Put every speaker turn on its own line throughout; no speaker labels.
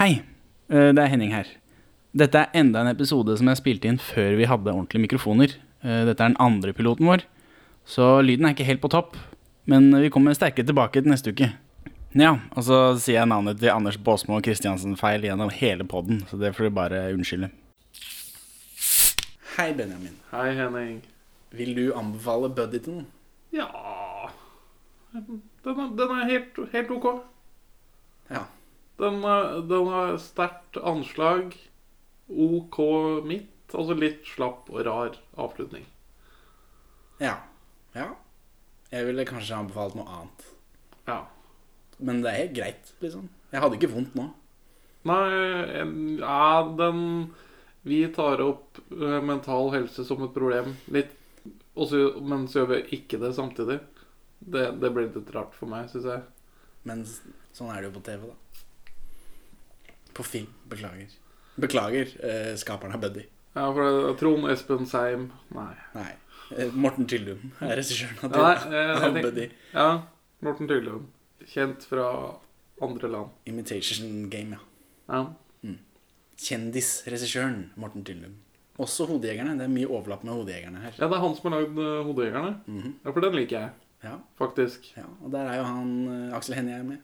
Hei, eh, det er Henning her. Dette er enda en episode som jeg spilte inn før vi hadde ordentlige mikrofoner. Eh, Dette er den andre piloten vår, så lyden er ikke helt på topp. Men vi kommer sterkere tilbake til neste uke. Ja, og så sier jeg navnet til Anders Baasmo og Kristiansen feil gjennom hele podden, så det får du bare unnskylde. Hei, Benjamin.
Hei, Henning.
Vil du anbefale Buddy til noen?
Ja Den er, den er helt, helt ok.
Ja.
Den, er- den har sterkt anslag. OK midt. Altså litt slapp og rar avslutning.
Ja. Ja. Jeg ville kanskje anbefalt noe annet.
Ja.
Men det er helt greit, liksom. Jeg hadde ikke vondt nå.
Nei, en- ja, den Vi tar opp eh, mental helse som et problem litt, og så- men så gjør vi ikke det samtidig. Det, det blir litt rart for meg, syns jeg.
Men s- sånn er det jo på TV, da. På film. Beklager. Beklager, eh, skaperen av Buddy.
Ja, for det er Trond Espen Seim Nei.
Nei. Eh, Morten Tyldum er regissøren av,
Nei,
Buddy.
eh,
av
jeg
Buddy.
tenk- Ja, Morten Tyldum. Kjent fra andre land.
Imitation Game, ja.
Ja.
Kjendisregissøren Morten Tyldum. Også Hodejegerne. Det er mye overlapp med Hodejegerne her.
ja, det er han som har lagd eh, 'Hodejegerne'.
Mhm.
Ja, for den liker jeg,
Ja,
faktisk.
ja. Og der er jo han eh, Aksel Hennie er med.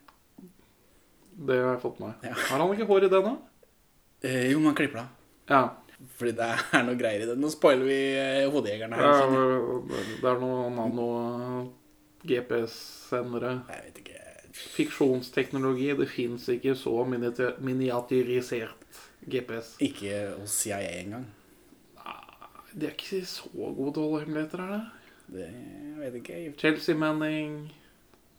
Det har jeg fått med meg.
Ja.
Har han ikke hår i det nå?
Eh, jo, man klipper det av.
Ja.
Fordi det er noe greier i det. Nå spoiler vi eh, Hodejegerne her.
Ja,
kjenner jeg.
Det er noe nano eh, GPS-sendere.
Jeg vet ikke.
Fiksjonsteknologi. Det fins ikke så miniaty- miniatyrisert GPS.
Ikke hos CIA engang.
De er ikke så gode til å holde hemmeligheter, er det?
Det jeg vet ikke.
Chelsea Manning,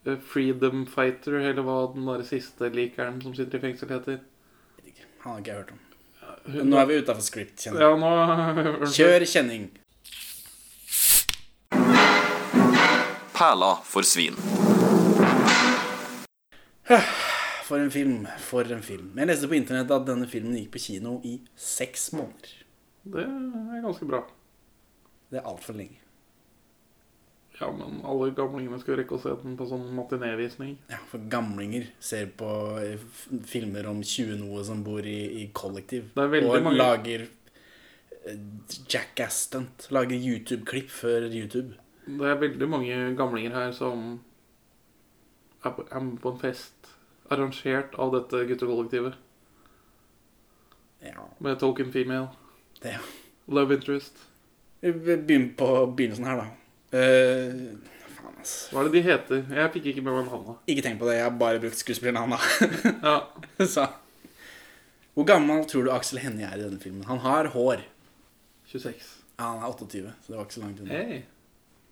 eh, Freedom Fighter, eller hva den der siste likeren som sitter i fengsel, heter.
Jeg vet ikke. Han har ikke jeg hørt om.
Hun-
Nå er vi utafor script, kjenner jeg.
Ja, nå
Kjør kjenning.
Perla for svin.
For en film. For en film. Jeg leste på internett at denne filmen gikk på kino i seks måneder.
Det er ganske bra.
Det er altfor lenge.
Ja, men alle gamlingene skal rekke å se den på sånn matinévisning.
Ja, for gamlinger ser på eh, f- filmer om 20-noe som bor i, i kollektiv.
Det er veldig
og
mange-
lager eh, jackass-stunt. Lager YouTube-klipp før YouTube.
Det er veldig mange gamlinger her som er på, er med på en fest arrangert av dette guttekollektivet
Ja,
med Token Female,
det
Love Interest
Vi begynner på begynnelsen her, da. Eh, faen, ass.
Hva er det de heter? Jeg fikk ikke med meg navnet.
Ikke tenk på det. Jeg har bare brukt skuespillernavnet.
Ja,
Så Hvor gammel tror du Aksel Hennie er i denne filmen? Han har hår.
26.
Ja, han er 28, så det var ikke så langt unna.
Hei.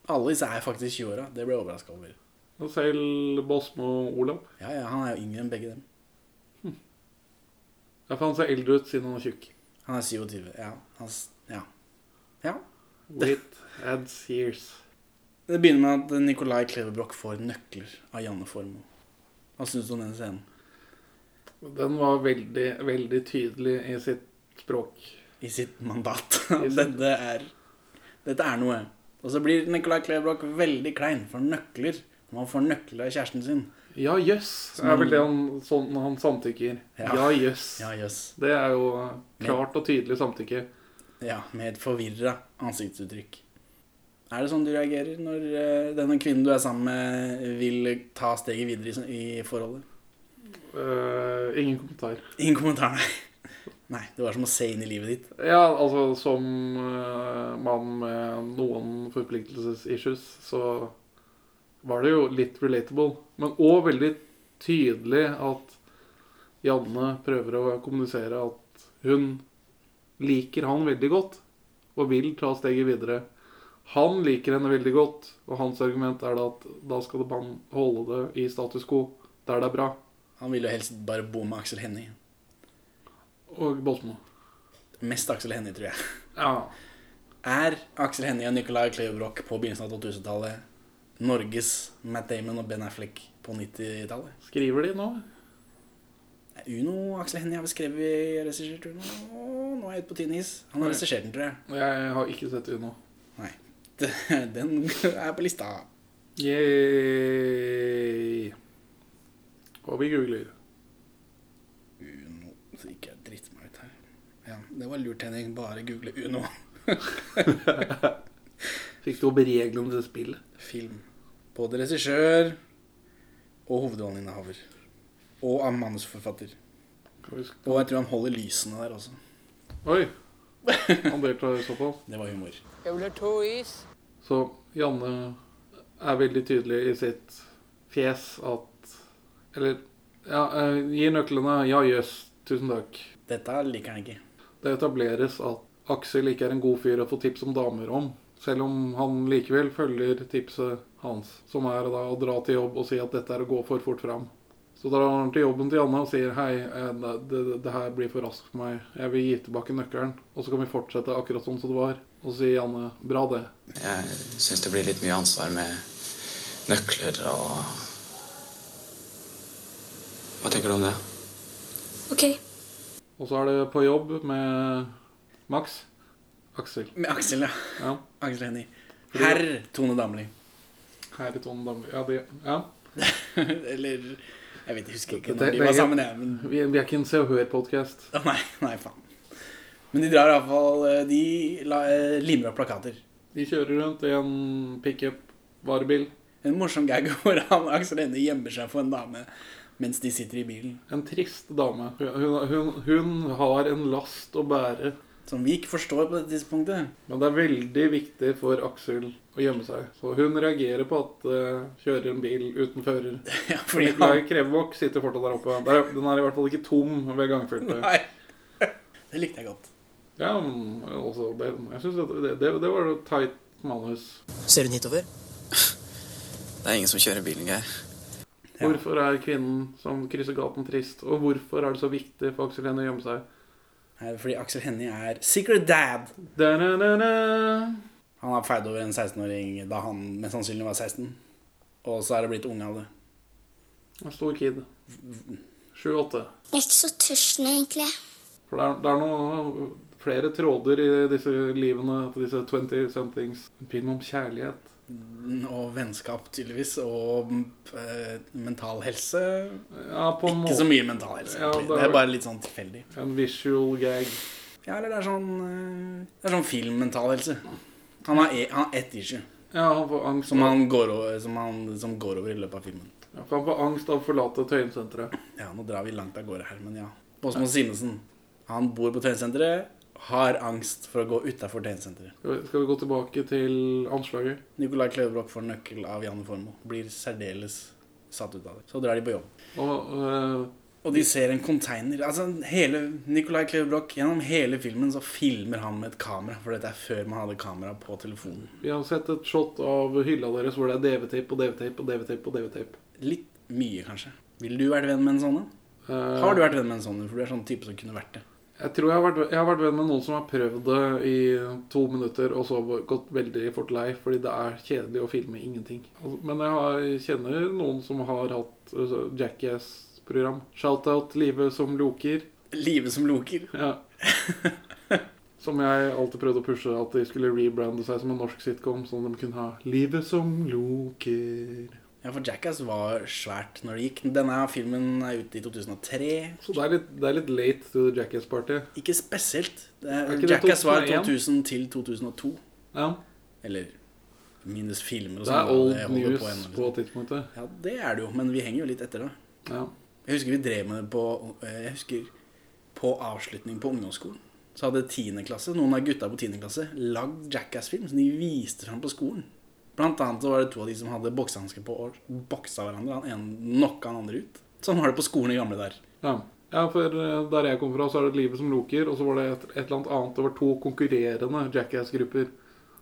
Alle disse er faktisk 20 år, da. Det ble jeg overraska over.
Og selv Bosmo Olav.
Ja, ja, han er jo yngre enn begge dem.
Ja, for han ser eldre ut siden han er tjukk.
Han er 27. Ja. Han, s- ja. ja.
Wait adds years.
Det begynner med at Nicolai Kleverbrok får nøkler av Janne Formoe. Hva syns du om den scenen?
Den var veldig, veldig tydelig i sitt språk.
I sitt mandat.
I sitt-
Dette er, dette er noe. Og så blir Nicolai Kleverbrok veldig klein for nøkler. Når han får nøkler av kjæresten sin.
Ja, jøss, er vel det han, sånn han samtykker.
Ja.
Ja, jøss.
Ja, jøss.
Det er jo klart og tydelig samtykke.
Ja, med et forvirra ansiktsuttrykk. Er det sånn du reagerer når eh, denne kvinnen du er sammen med, vil ta steget videre i, i forholdet?
Eh, ingen kommentar.
Ingen kommentar, nei. Nei, det var som å se inn i livet ditt.
Ja, altså som eh, mann med noen forpliktelsesissues, så var det jo litt relatable. Men òg veldig tydelig at Janne prøver å kommunisere at hun liker han veldig godt og vil ta steget videre. Han liker henne veldig godt, og hans argument er da at da skal man holde det i status quo, der det er bra.
Han ville jo helst bare bo med Aksel Hennie.
Og Boltmo.
Mest Aksel Hennie, tror jeg.
Ja.
Er Aksel Hennie og Nicolai Klevebrok på begynnelsen av 2000-tallet Norges Matt Damon og Ben Affleck på 90-tallet?
Skriver de nå?
Er Uno Aksel Hennie har vel skrevet og regissert Uno? Å, Nå er jeg ute på tynn is. Han har regissert den, tror jeg.
Jeg har ikke sett Uno.
Nei. Den er på lista.
Yay. Og vi googler.
Uno Så gikk jeg dritsmart ut her. Ja, det var lurt, Henning. Bare google Uno.
Fikk du opp reglene til spillet?
Film. Både regissør og hovedrolleinnehaver. Og er manusforfatter.
Kan vi sk-
Og jeg tror han holder lysene der også.
Oi! Han deltar såpass.
Det var humor.
Jeg vil ha to is.
Så Janne er veldig tydelig i sitt fjes at Eller ja, eh, gi nøklene. Ja, jøss. Tusen takk.
Dette liker han ikke.
Det etableres at Aksel ikke er en god fyr å få tips om damer om. Selv om han likevel følger tipset hans, som er da å dra til jobb og si at dette er å gå for fort fram. Så drar han til jobben til Janne og sier hei, eh, det, det, det her blir for raskt for meg. Jeg vil gi tilbake nøkkelen. Og så kan vi fortsette akkurat sånn som det var. Og så sier Janne bra det.
Jeg syns det blir litt mye ansvar med nøkler og Hva tenker du om det?
Ok.
Og så er det på jobb med Max. Aksel.
Med Aksel, ja.
Ja.
Aksel Hennie. Herr Tone Damli.
Her i Tone Damli. Ja, det, ja.
Eller Jeg vet, jeg husker ikke
Det-
når de
det-
var sammen, jeg. Men
Vi, vi er ikke en Se og Hør-podkast.
Å, nei, nei, faen. Men de drar iallfall De la, eh, limer opp plakater.
De kjører rundt i en pickup varebil.
En morsom gag hvor han Aksel Hennie gjemmer seg for en dame mens de sitter i bilen.
En trist dame. Hun, hun, hun, hun har en last å bære.
Som vi ikke forstår på dette tidspunktet.
Men det er veldig viktig for Aksel å gjemme seg. Så hun reagerer på at det kjører en bil uten fører.
Ja, fordi
Nikolai
han
Krevvåg sitter fortsatt der oppe. Der, den er i hvert fall ikke tom ved gangfeltet.
Nei. Det likte jeg godt.
Ja, men altså, det, jeg synes at det, det, det var et tight manus.
Ser hun hitover?
Det er ingen som kjører bilen, Geir.
Ja.
Hvorfor er kvinnen som krysser gaten, trist? Og hvorfor er det så viktig for Aksel Hennie å gjemme seg?
Nei, fordi Aksel Hennie er secret dad.
Da-na-na-na.
Han har feid over en 16-åring da han mest sannsynlig var 16. Og så er det blitt unge av det.
En stor kid. Sju-åtte.
Jeg er ikke så tørsten egentlig.
For det er, det er noe, flere tråder i disse livene til disse 20-somethings. En film om kjærlighet.
Og vennskap, tydeligvis. Og eh, mental helse.
Ja, på en
Ikke så
måte.
mye mental helse,
Ja,
egentlig.
det er-
det er bare litt sånn tilfeldig.
En visual gag.
Ja, eller det er sånn eh, Det er sånn filmmental helse. Han har, e han har ett issue
Ja, han får angst,
som, han går over, som, han, som går over i løpet av filmen.
ja, for han får angst av å forlate Tøyensenteret.
Ja, nå drar vi langt av gårde her, men ja. Åsmund Simensen. Han bor på treningssenteret, har angst for å gå utafor treningssenteret.
Skal vi- Skal vi gå tilbake til anslaget?
Nicolai Kløverbrok får nøkkel av Janne Formoe. Blir særdeles satt ut av det. Så drar de på jobb.
Og øh,
Og de ser en container. Altså, hele Nicolai Kløverbrok Gjennom hele filmen så filmer han med et kamera. For dette er før man hadde kamera på telefonen.
vi har sett et shot av hylla deres hvor det er DV-tape og DV-tape og DV-tape. og DV-tape.
Litt mye, kanskje. Ville du vært venn med en sånn en?
Eh,
Har du vært venn med en sånn en? For du er sånn type som kunne vært det.
Jeg tror jeg har, vært, jeg har vært venn med noen som har prøvd det i to minutter, og så gått veldig fort lei, fordi det er kjedelig å filme ingenting. Altså, Men jeg, har, jeg kjenner noen som har hatt altså, Jackass-program. Shoutout Live som loker.
Live som loker.
Ja. Som jeg alltid prøvde å pushe at de skulle rebrande seg som en norsk sitcom, sånn at de kunne ha 'Livet som loker'.
Ja, for Jackass var svært når det gikk. Denne filmen er ute i 2003.
Så det er litt, det er litt late to the Jackass-party.
Ikke spesielt. Det
Er
er,
ikke det
Jackass var
2001?
2000 til 2002.
Ja.
Eller minus filmer og
Det er
sånn.
old
da. Det holder
news
på ennå,
på
liksom.
tidspunktet.
Ja, det er det jo, men vi henger jo litt etter, da.
Ja.
Jeg husker vi drev med det på eh, Jeg husker på avslutning på ungdomsskolen. Så hadde 10. klasse, noen av gutta på 10. klasse lagd Jackass-film som de viste fram på skolen. Blant annet så var det to av de som hadde boksehansker på og boksa hverandre. Han ene knocka han andre ut. Sånn var det på skolen i gamle der.
Ja. ja, for eh, der jeg kom fra, så er det Livet som loker, og så var det et, et eller annet annet. Det var to konkurrerende Jackass-grupper.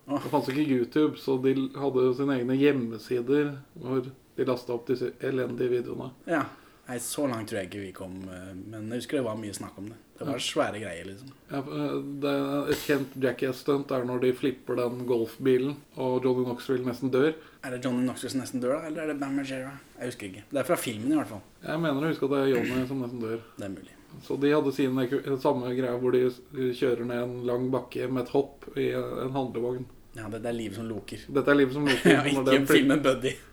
Åh.
Det fantes ikke YouTube, så de l- hadde sine egne hjemmesider hvor de lasta opp disse elendige videoene.
Ja. Nei, så langt tror jeg ikke vi kom, eh, men jeg husker det var mye snakk om det. Det var svære greier, liksom.
Ja, for, eh, det er et kjent Jackass-stunt er når de flipper den golfbilen, og Johnny Knoxville nesten dør.
Er det Johnny Knoxville som nesten dør, da? Eller er det Bam Margera? Jeg husker ikke. Det er fra filmen, i hvert fall.
Jeg mener å huske at det er Johnny som nesten dør.
Det er mulig.
Så de hadde sin ekv- samme greia hvor de s- kjører ned en lang bakke med et hopp i en handlevogn.
Ja, det, det er livet som loker.
Dette er livet som loker.
Ja,
når
ikke
den flipper-
filmen Buddy.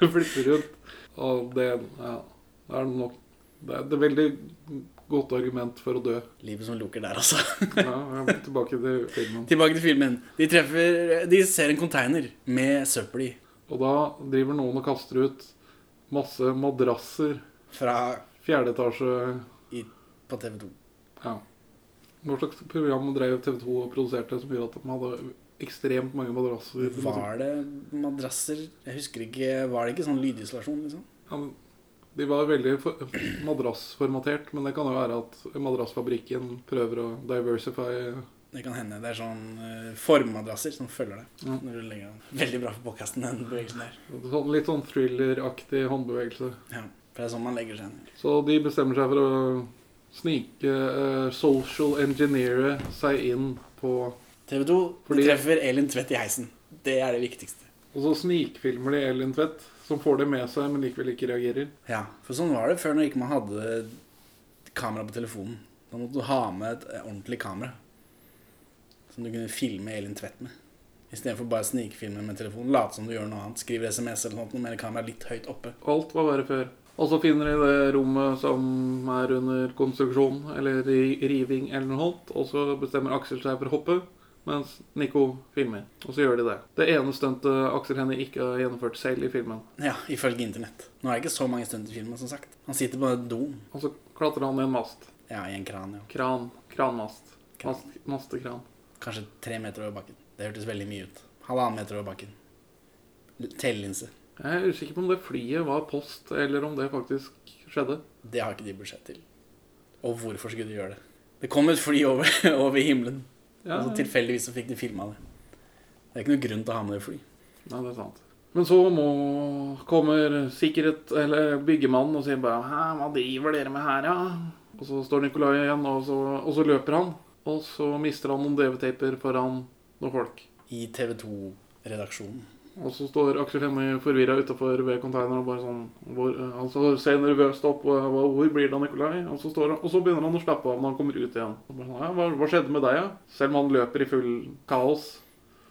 Du flytter rundt. Og det, ja, det er nok det er, det er veldig Godt argument for å dø.
Livet som lukker der, altså.
Ja, jeg må tilbake til filmen.
Tilbake til filmen. De treffer De ser en container med søppel i.
Og da driver noen og kaster ut masse madrasser.
Fra
Fjerde etasje
i, På TV 2.
Ja. Hva slags program drev TV 2 og produserte som gjorde at de hadde ekstremt mange madrasser?
Var det madrasser Jeg husker ikke Var det ikke sånn lydisolasjon, liksom?
Ja, men de var veldig for- madrassformatert, men det kan jo være at madrassfabrikken prøver å diversify
Det kan hende. Det er sånn eh, formmadrasser som følger deg.
Ja.
Når du legger den. Veldig bra for podkasten, den bevegelsen der.
sånn, Litt sånn thrilleraktig håndbevegelse.
Ja, for det er sånn man legger seg ned.
Så de bestemmer seg for å snike eh, social engineere seg inn på
TV 2
Fordi-
treffer Elin Tvedt i heisen. Det er det viktigste.
Og så snikfilmer de Elin Tvedt, som får det med seg, men likevel ikke reagerer.
Ja, For sånn var det før når ikke man hadde kamera på telefonen. Da måtte du ha med et eh, ordentlig kamera som du kunne filme Elin Tvedt med. Istedenfor bare snikfilme med telefonen. Late som du gjør noe annet. Skriver SMS eller noe sånt, med kameraet litt høyt oppe.
Alt var verre før. Og så finner de det rommet som er under konstruksjon eller ri- riving eller noe sånt, og så bestemmer Aksel seg for å hoppe, mens Nico filmer. Og så gjør de det. Det ene stuntet Aksel Hennie ikke har gjennomført selv i filmen.
Ja, ifølge internett. Nå er det ikke så mange stunder i filmen, som sagt. Han sitter på en dom.
Og så klatrer han i en mast.
Ja, i en kran, ja.
Kran. Kranmast.
Kran.
Mast, mastekran.
Kanskje tre meter over bakken. Det hørtes veldig mye ut. Halvannen meter over bakken. L- Telelinse.
Jeg er usikker på om det flyet var post, eller om det faktisk skjedde.
Det har ikke de budsjett til. Og hvorfor skulle de gjøre det? Det kom et fly over, over himmelen. Og så
Ja, ja.
Altså, tilfeldigvis så fikk de filma det. Det er ikke noe grunn til å ha med det fly.
Nei, det er sant. Men så må, kommer sikkerhet, eller byggemannen og sier bare Hæ, hva driver dere med her, ja? Og så står Nikolai igjen, og så, og så løper han. Og så mister han noen DV-taper foran noen folk.
I TV 2-redaksjonen.
Og så står Aksel Hennie forvirra utafor ved containeren og bare sånn hvor, Han så ser nervøst opp og hva, 'Hvor blir det av Nikolai?' Og så, står han, og så begynner han å slappe av når han kommer ut igjen. Og bare sånn, ja, hva, 'Hva skjedde med deg', ja? Selv om han løper i full kaos.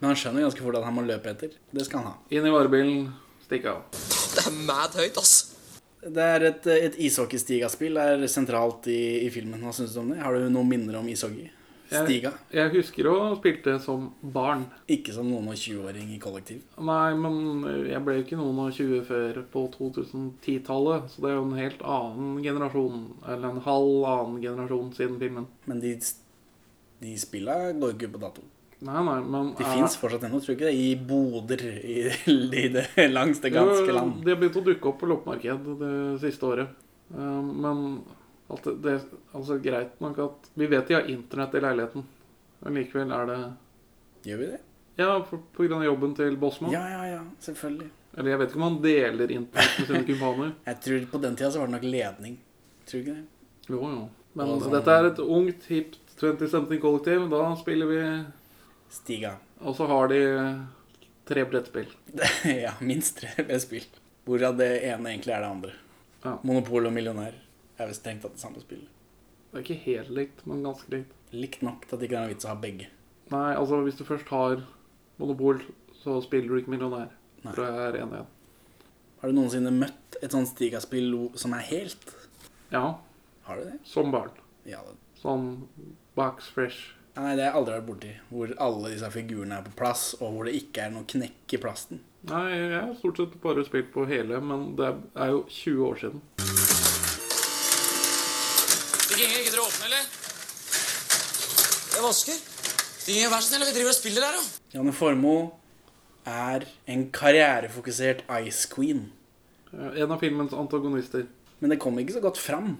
Men han skjønner ganske fort at han må løpe etter. Det skal han ha.
Inn i varebilen, stikke av.
Det er mad høyt, ass.
Det er et, et ishockeystigaspill er sentralt i, i filmen. Hva syns du om det? Har du noen minner om ishockey?
Jeg-
Stiga.
Jeg husker å ha spilt det som barn.
Ikke som noen og 20-åring i kollektiv.
Nei, men jeg ble jo ikke noen av 20 før på 2010-tallet, så det er jo en helt annen generasjon, eller en halv annen generasjon siden filmen.
Men de, de spilla går ikke på dato.
Nei, nei, men...
De fins fortsatt ennå, tror du ikke det? I boder i, i det, langs det ganske land.
De har begynt å dukke opp på loppemarked det siste året. Eh, Men alt det, det altså greit nok at vi vet de har internett i leiligheten, men likevel er det...
Gjør vi det?
Ja, for, på grunn av jobben til Bossmann.
Ja, ja, ja. Selvfølgelig.
Eller jeg vet ikke om han deler internett med sine kumpaner.
Jeg tror På den tida så var det nok ledning. Tror du ikke det?
Jo, jo. Men
Og sånn-
dette er et ungt, hipt 20-something-kollektiv. Da spiller vi
Stiga.
Og så har de tre brettspill.
ja, minst tre ble spilt. Hvorav det ene egentlig er det andre.
Ja.
Monopol og millionær er vel strengt tatt det samme spillet.
Det er ikke helt likt, men ganske likt.
Likt nok til at det ikke er noen vits å ha begge.
Nei, altså hvis du først har monopol, så spiller du ikke millionær.
Nei.
Tror jeg er enig i.
Har du noensinne møtt et sånt stigaspill som er helt?
Ja,
Har du det?
som barn.
Ja, det
Sånn box fresh.
Nei, det har jeg aldri vært borti. Hvor alle disse figurene er på plass, og hvor det ikke er noe knekk i plasten.
Nei, jeg har stort sett bare spilt på hele, men det er jo 20 år siden.
Stikkingen, gidder du å åpne, eller?
Jeg vasker.
Stikkingen, vær så snill, vi driver og spiller her, da.
Janne Formoe er en karrierefokusert Ice Queen.
Eh, En av filmens antagonister.
Men det kom ikke så godt fram.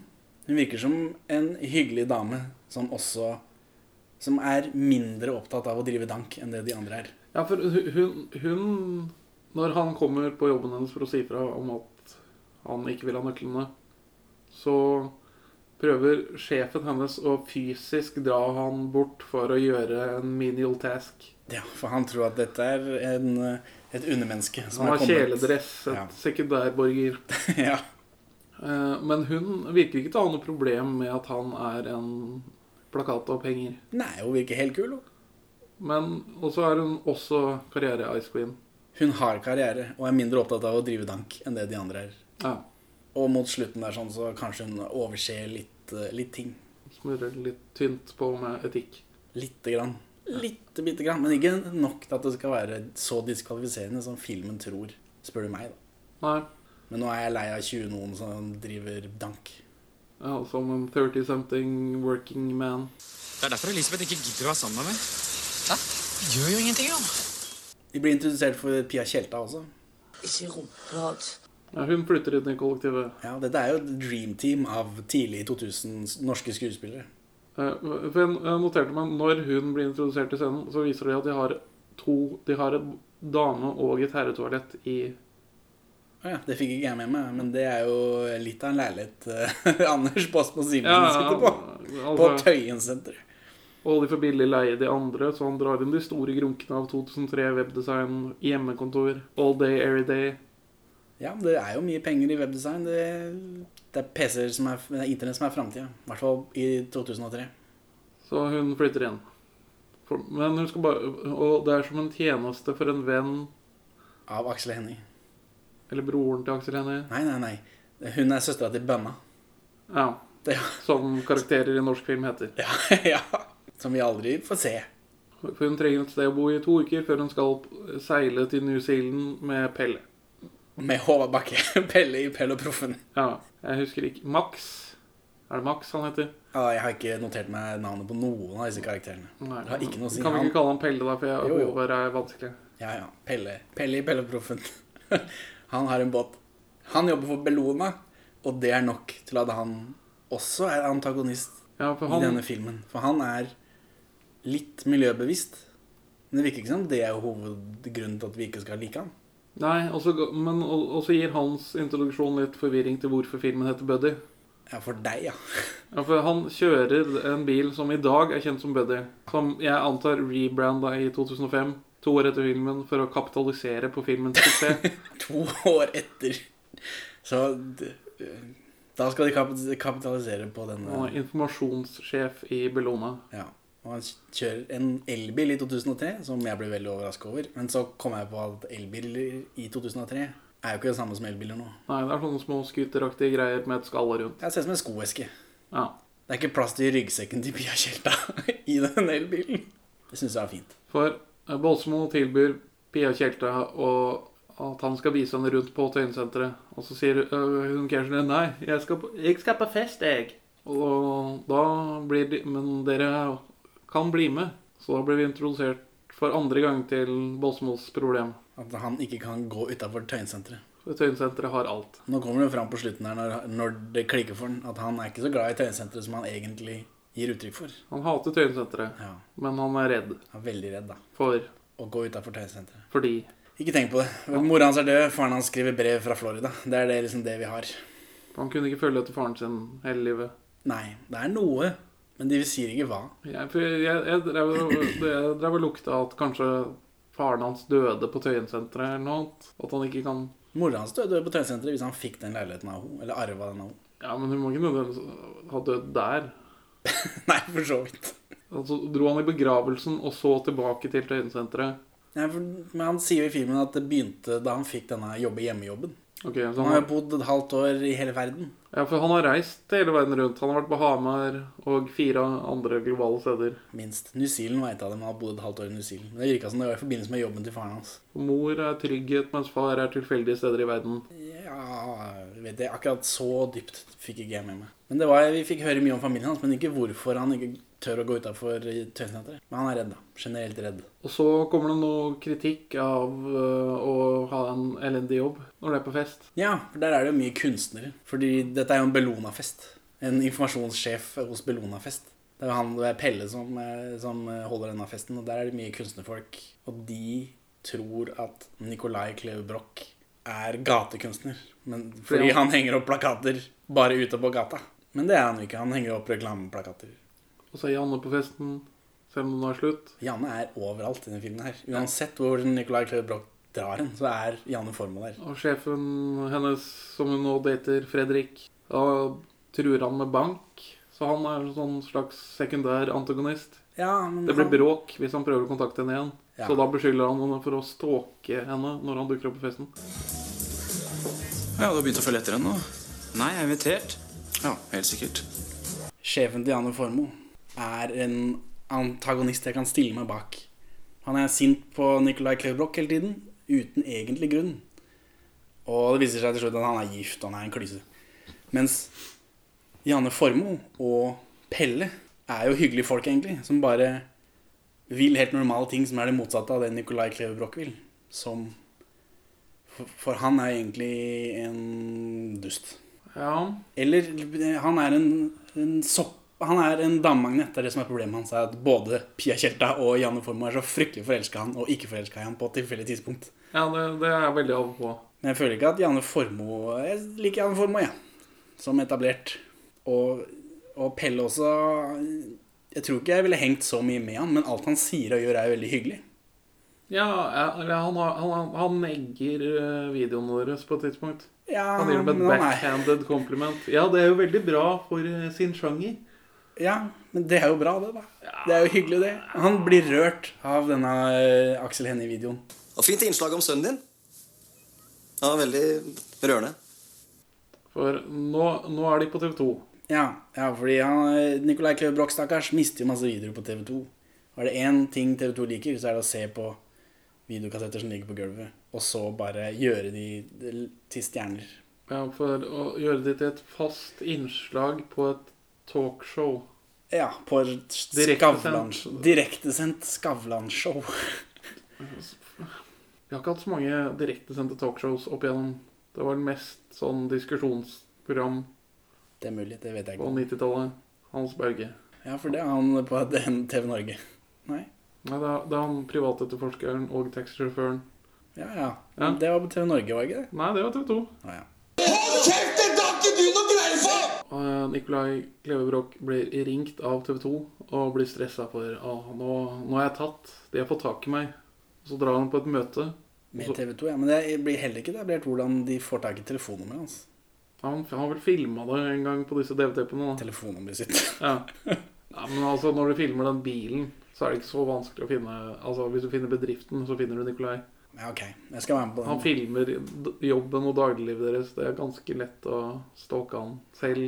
Hun virker som en hyggelig dame som også Som er mindre opptatt av å drive dank enn det de andre er.
Ja, for hu- hun, hun Når han kommer på jobben hennes for å si fra om at han ikke vil ha nøklene, så prøver sjefen hennes å fysisk dra han bort for å gjøre en menial task.
Ja, For han tror at dette er en, eh, et undermenneske som
Han
er
har kjeledress, et
Ja.
sekundærborger.
ja.
Eh, Men hun virker ikke til å ha noe problem med at han er en plakatavhenger.
Nei, hun virker helt kul. hun.
Men også er hun også karriere-ice queen.
Hun har karriere og er mindre opptatt av å drive dank enn det de andre er.
Ja.
Og mot slutten der sånn, så kanskje hun overser litt litt, eh, litt ting.
Smører litt tynt på med etikk.
Lite grann. Lite bitte grann. Men ikke nok til at det skal være så diskvalifiserende som filmen tror, spør du meg. da.
Nei.
Men nå er jeg lei av 20 noen som driver dank.
Ja, som en 30-something working man.
Det er derfor Elisabeth ikke gidder å være sammen med meg.
Hæ? Gjør jo ingenting, han.
De blir introdusert for Pia Tjelta også.
Ikke rumpelat.
Ja, hun flytter inn i kollektivet.
Ja, Dette er jo et dream team av tidlig 2000 norske skuespillere.
Eh, For jeg jeg noterte meg når hun blir introdusert i scenen, så viser det at de har to De har et dame- og et herretoalett i
Å Ja, det fikk ikke jeg med meg, men det er jo litt av en leilighet eh, Anders Bosmo Simensen sitter på. På
altså,
Tøyen senter.
Og de får billig leie de andre, så han drar inn de store grunkene av 2003, webdesign, hjemmekontor, all day, every day.
Ja, men det er jo mye penger i webdesign. Det, det er PC-er som er det er Internett som er framtida. I hvert fall i 2003.
Så hun flytter inn. For, men hun skal bare Og det er som en tjeneste for en venn
Av Aksel Hennie.
eller broren til Aksel Hennie.
Nei, nei, nei. Hun er søstera til Bønna.
Ja.
Det,
Som karakterer i norsk film heter.
ja, ja. Som vi aldri får se.
For hun trenger et sted å bo i to uker før hun skal p- seile til New Zealand med Pelle.
Med Håvard Bakke. Pelle i Pell og Proffen.
Ja, jeg husker ikke Max? Er det Max han heter?
Ja, jeg har ikke notert meg navnet på noen av disse karakterene.
Nei.
Det har ikke noe å si.
Kan vi
Han-
ikke kalle han Pelle, da? For jeg,
Jo, jo.
Håvard er vanskelig.
Ja, ja. Pelle. Pelle i Pelleproffen. han har en båt. Han jobber for Bellona, og det er nok til at han også er antagonist
Ja, for
i
han,
denne filmen. For han er litt miljøbevisst. Men det virker ikke som det er hovedgrunnen til at vi ikke skal like han.
nei, og så ga- men og og så gir hans introduksjon litt forvirring til hvorfor filmen heter Buddy.
Ja, for deg, ja.
Ja, for han kjører en bil som i dag er kjent som Buddy. Som jeg antar rebranda i 2005, to år etter filmen, for å kapitalisere på filmens suksess.
To år etter. Så d- da skal de kapit- kapitalisere på
Han
denne.
er informasjonssjef i Bellona.
Ja. Og han kjører en elbil i 2003, som jeg ble veldig overrasket over. Men så kom jeg på at elbiler i 2003 er jo ikke det samme som elbiler nå.
Nei, det er sånne små skuteraktige greier med et skall rundt.
Det ser ut som en skoeske.
Ja.
Det er ikke plass til ryggsekken til Pia Tjelta i den elbilen. Det syns jeg er fint.
For eh, Båsmo tilbyr Pia Tjelte å- at han skal vise henne rundt på Tøyensenteret. Og så sier øh, hun Kersen nei, jeg skal, på, jeg skal på fest, jeg. Og da blir de Men dere kan bli med. Så da blir vi introdusert for andre gang til Båsmos problem.
At han ikke kan gå utafor Tøyensenteret.
For Tøyensenteret har alt.
Nå kommer det fram på slutten her når, når det klikker for han, at han er ikke så glad i Tøyensenteret som han egentlig gir uttrykk for.
Han hater Tøyensenteret,
Ja,
men han er redd
Han er veldig redd da,
for
å gå utafor Tøyensenteret.
fordi
Ikke tenk på det. Mora hans er død, faren hans skriver brev fra Florida. Det er det, liksom det vi har.
han kunne ikke følge etter faren sin hele livet.
Nei, det er noe, men de sier ikke hva.
Jeg, for jeg, jeg, drev, jeg drev og lukta at kanskje faren hans døde på Tøyensenteret eller noe annet. At han ikke kan
Mora hans døde på Tøyensenteret hvis han fikk den leiligheten av henne, eller arva den av henne.
Ja, men hun må ikke nødvendigvis ha dødd der.
Nei, for så vidt.
Og så dro han i begravelsen og så tilbake til Tøyensenteret.
Nei, for, men han sier jo i filmen at det begynte da han fikk denne jobbe hjemmejobben.
Ok, så
Han
han,
har
har-
jo bodd et halvt år i hele verden.
ja, for han har reist hele verden rundt. Han har vært på Hamar og fire andre globale steder.
Minst. New Zealand vet jeg det, men han har bodd et halvt år i New Zealand. Men Det virka som det var i forbindelse med jobben til faren hans.
Mor er trygghet, mens far er tilfeldige steder i verden.
Ja, vet jeg, akkurat så dypt fikk ikke jeg med meg. Men det var, Vi fikk høre mye om familien hans, men ikke hvorfor han ikke tør å gå utafor tøysenteret. Men han er redd, da. Generelt redd.
Og så kommer det noe kritikk av øh, å ha en elendig jobb når det er på fest.
Ja, for der er det jo mye kunstnere. Fordi dette er jo en Bellona-fest. En informasjonssjef hos Bellona-fest. Det er jo han, det er Pelle som, eh, som holder denne festen, og der er det mye kunstnerfolk. Og de tror at Nicolai Kleve Broch er gatekunstner. Men fordi han henger opp plakater bare ute på gata. Men det er han jo ikke. Han henger opp reklameplakater.
Og så er Janne på festen, selv om den er slutt.
Janne er overalt i denne filmen her. Uansett hvor Nicolai Kleve Broch drar hen, så er Janne Formoe der.
Og sjefen hennes, som hun nå dater, Fredrik, da truer han med bank. Så han er en sånn slags sekundær antagonist.
Ja, men
Det blir
han-
bråk hvis han prøver å kontakte henne igjen.
Ja.
Så da beskylder han henne for å stalke henne når han dukker opp på festen.
Ja, du har begynt å følge etter henne nå? Nei, jeg er invitert. Ja, helt sikkert.
sjefen til Janne Formoe er en antagonist jeg kan stille meg bak. Han er sint på Nicolai Klebrok hele tiden, uten egentlig grunn. Og det viser seg til slutt at han er gift, og han er en klyse. Mens Janne Formoe og Pelle er jo hyggelige folk, egentlig, som bare vil helt normale ting som er det motsatte av det Nicolai Klevebrok vil. Som for, for han er egentlig en dust.
Ja.
Eller eh, han er en, en sopp... Han er en damemagnet. Det er det som er problemet hans. er At både Pia Tjelta og Janne Formoe er så fryktelig forelska i han, og ikke forelska i han på et tilfeldig tidspunkt.
ja det, det er jeg veldig av og på.
Men jeg føler ikke at Janne Formoe Jeg liker Janne Formoe, jeg. Som etablert. Og, og Pelle også Jeg tror ikke jeg ville hengt så mye med han, men alt han sier og gjør, er jo veldig hyggelig.
Ja, jeg- eller han, har- han, han negger eh, videoene deres på et tidspunkt.
Ja,
Han gir dem et
men han er-
backhanded kompliment. Ja, det er jo veldig bra for eh, sin sjanger.
Ja, men det er jo bra, det, da. Det er jo hyggelig, det. Han blir rørt av denne eh, Aksel Hennie-videoen.
Og fint innslag om sønnen din. Han var veldig rørende.
For nå, nå er de på TV 2.
Ja, ja, fordi han, eh, Nicolai Kleve Broch, stakkars, mister jo masse videoer på TV2. Og er det én ting TV2 liker, så er det å se på videokassetter som ligger på gulvet, og så bare gjøre de til stjerner.
Ja, for å gjøre det til et fast innslag på et talkshow.
Ja, på et Skavlan
Direktesendt.
Direktesendt Skavlan-show.
Vi har ikke hatt så mange direktesendte talkshows opp igjennom. Det var mest sånn diskusjonsprogram
Det er mulig, det vet jeg
på
ikke.
90-tallet. Hans Berge.
Ja, for det er han på den TV Norge. Nei.
Nei, det er, det er han privatetterforskeren og taxisjåføren.
Ja, ja.
Ja.
Det var på TV Norge, var det ikke det?
Nei, det var TV 2.
Å, ja.
Eh, Nikolai Klevebrok blir ringt av TV 2 og blir stressa for ah, nå, 'Nå er jeg tatt. De har fått tak i meg.' Så drar han på et møte.
Med TV2, ja. Men det blir heller ikke etablert hvordan de får tak i telefonnummeret hans.
Han han har vel filma det en gang på disse DVD-teppene. da.
Telefonnummeret sitt.
Ja. ja, men altså, når du filmer den bilen, så er det ikke så vanskelig å finne Altså, Hvis du finner bedriften, så finner du Nikolai.
Ja, ok. Jeg skal være med på
Han
den.
filmer d- jobben og dagliglivet deres. Det er ganske lett å stalke han selv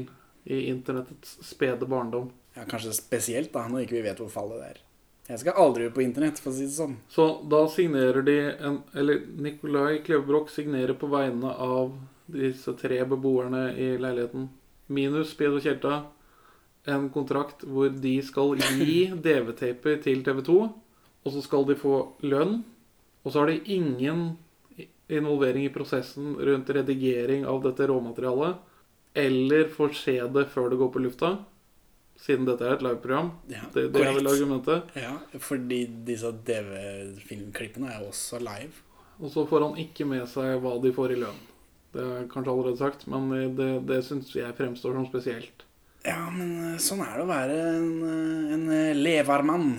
i internettets spede barndom.
Ja, kanskje spesielt da, når ikke vi vet hvor fallet det er. Jeg skal aldri ut på internett, for å si det sånn.
Så da signerer de en Eller Nikolai Klevebrok signerer på vegne av disse tre beboerne i leiligheten, minus Pia og Kjelta, en kontrakt hvor de skal gi DV-taper til TV 2, og så skal de få lønn. Og så har de ingen involvering i prosessen rundt redigering av dette råmaterialet, eller får se det før det går på lufta, siden dette er et liveprogram.
Ja,
det, det er
korrekt.
vel argumentet.
Ja, fordi disse DV-filmklippene er jo også live.
Og så får han ikke med seg hva de får i lønn. Det er kanskje allerede sagt, men det, det syns jeg fremstår som spesielt.
Ja, men eh, sånn er det å være en, eh, en eh, levarmann.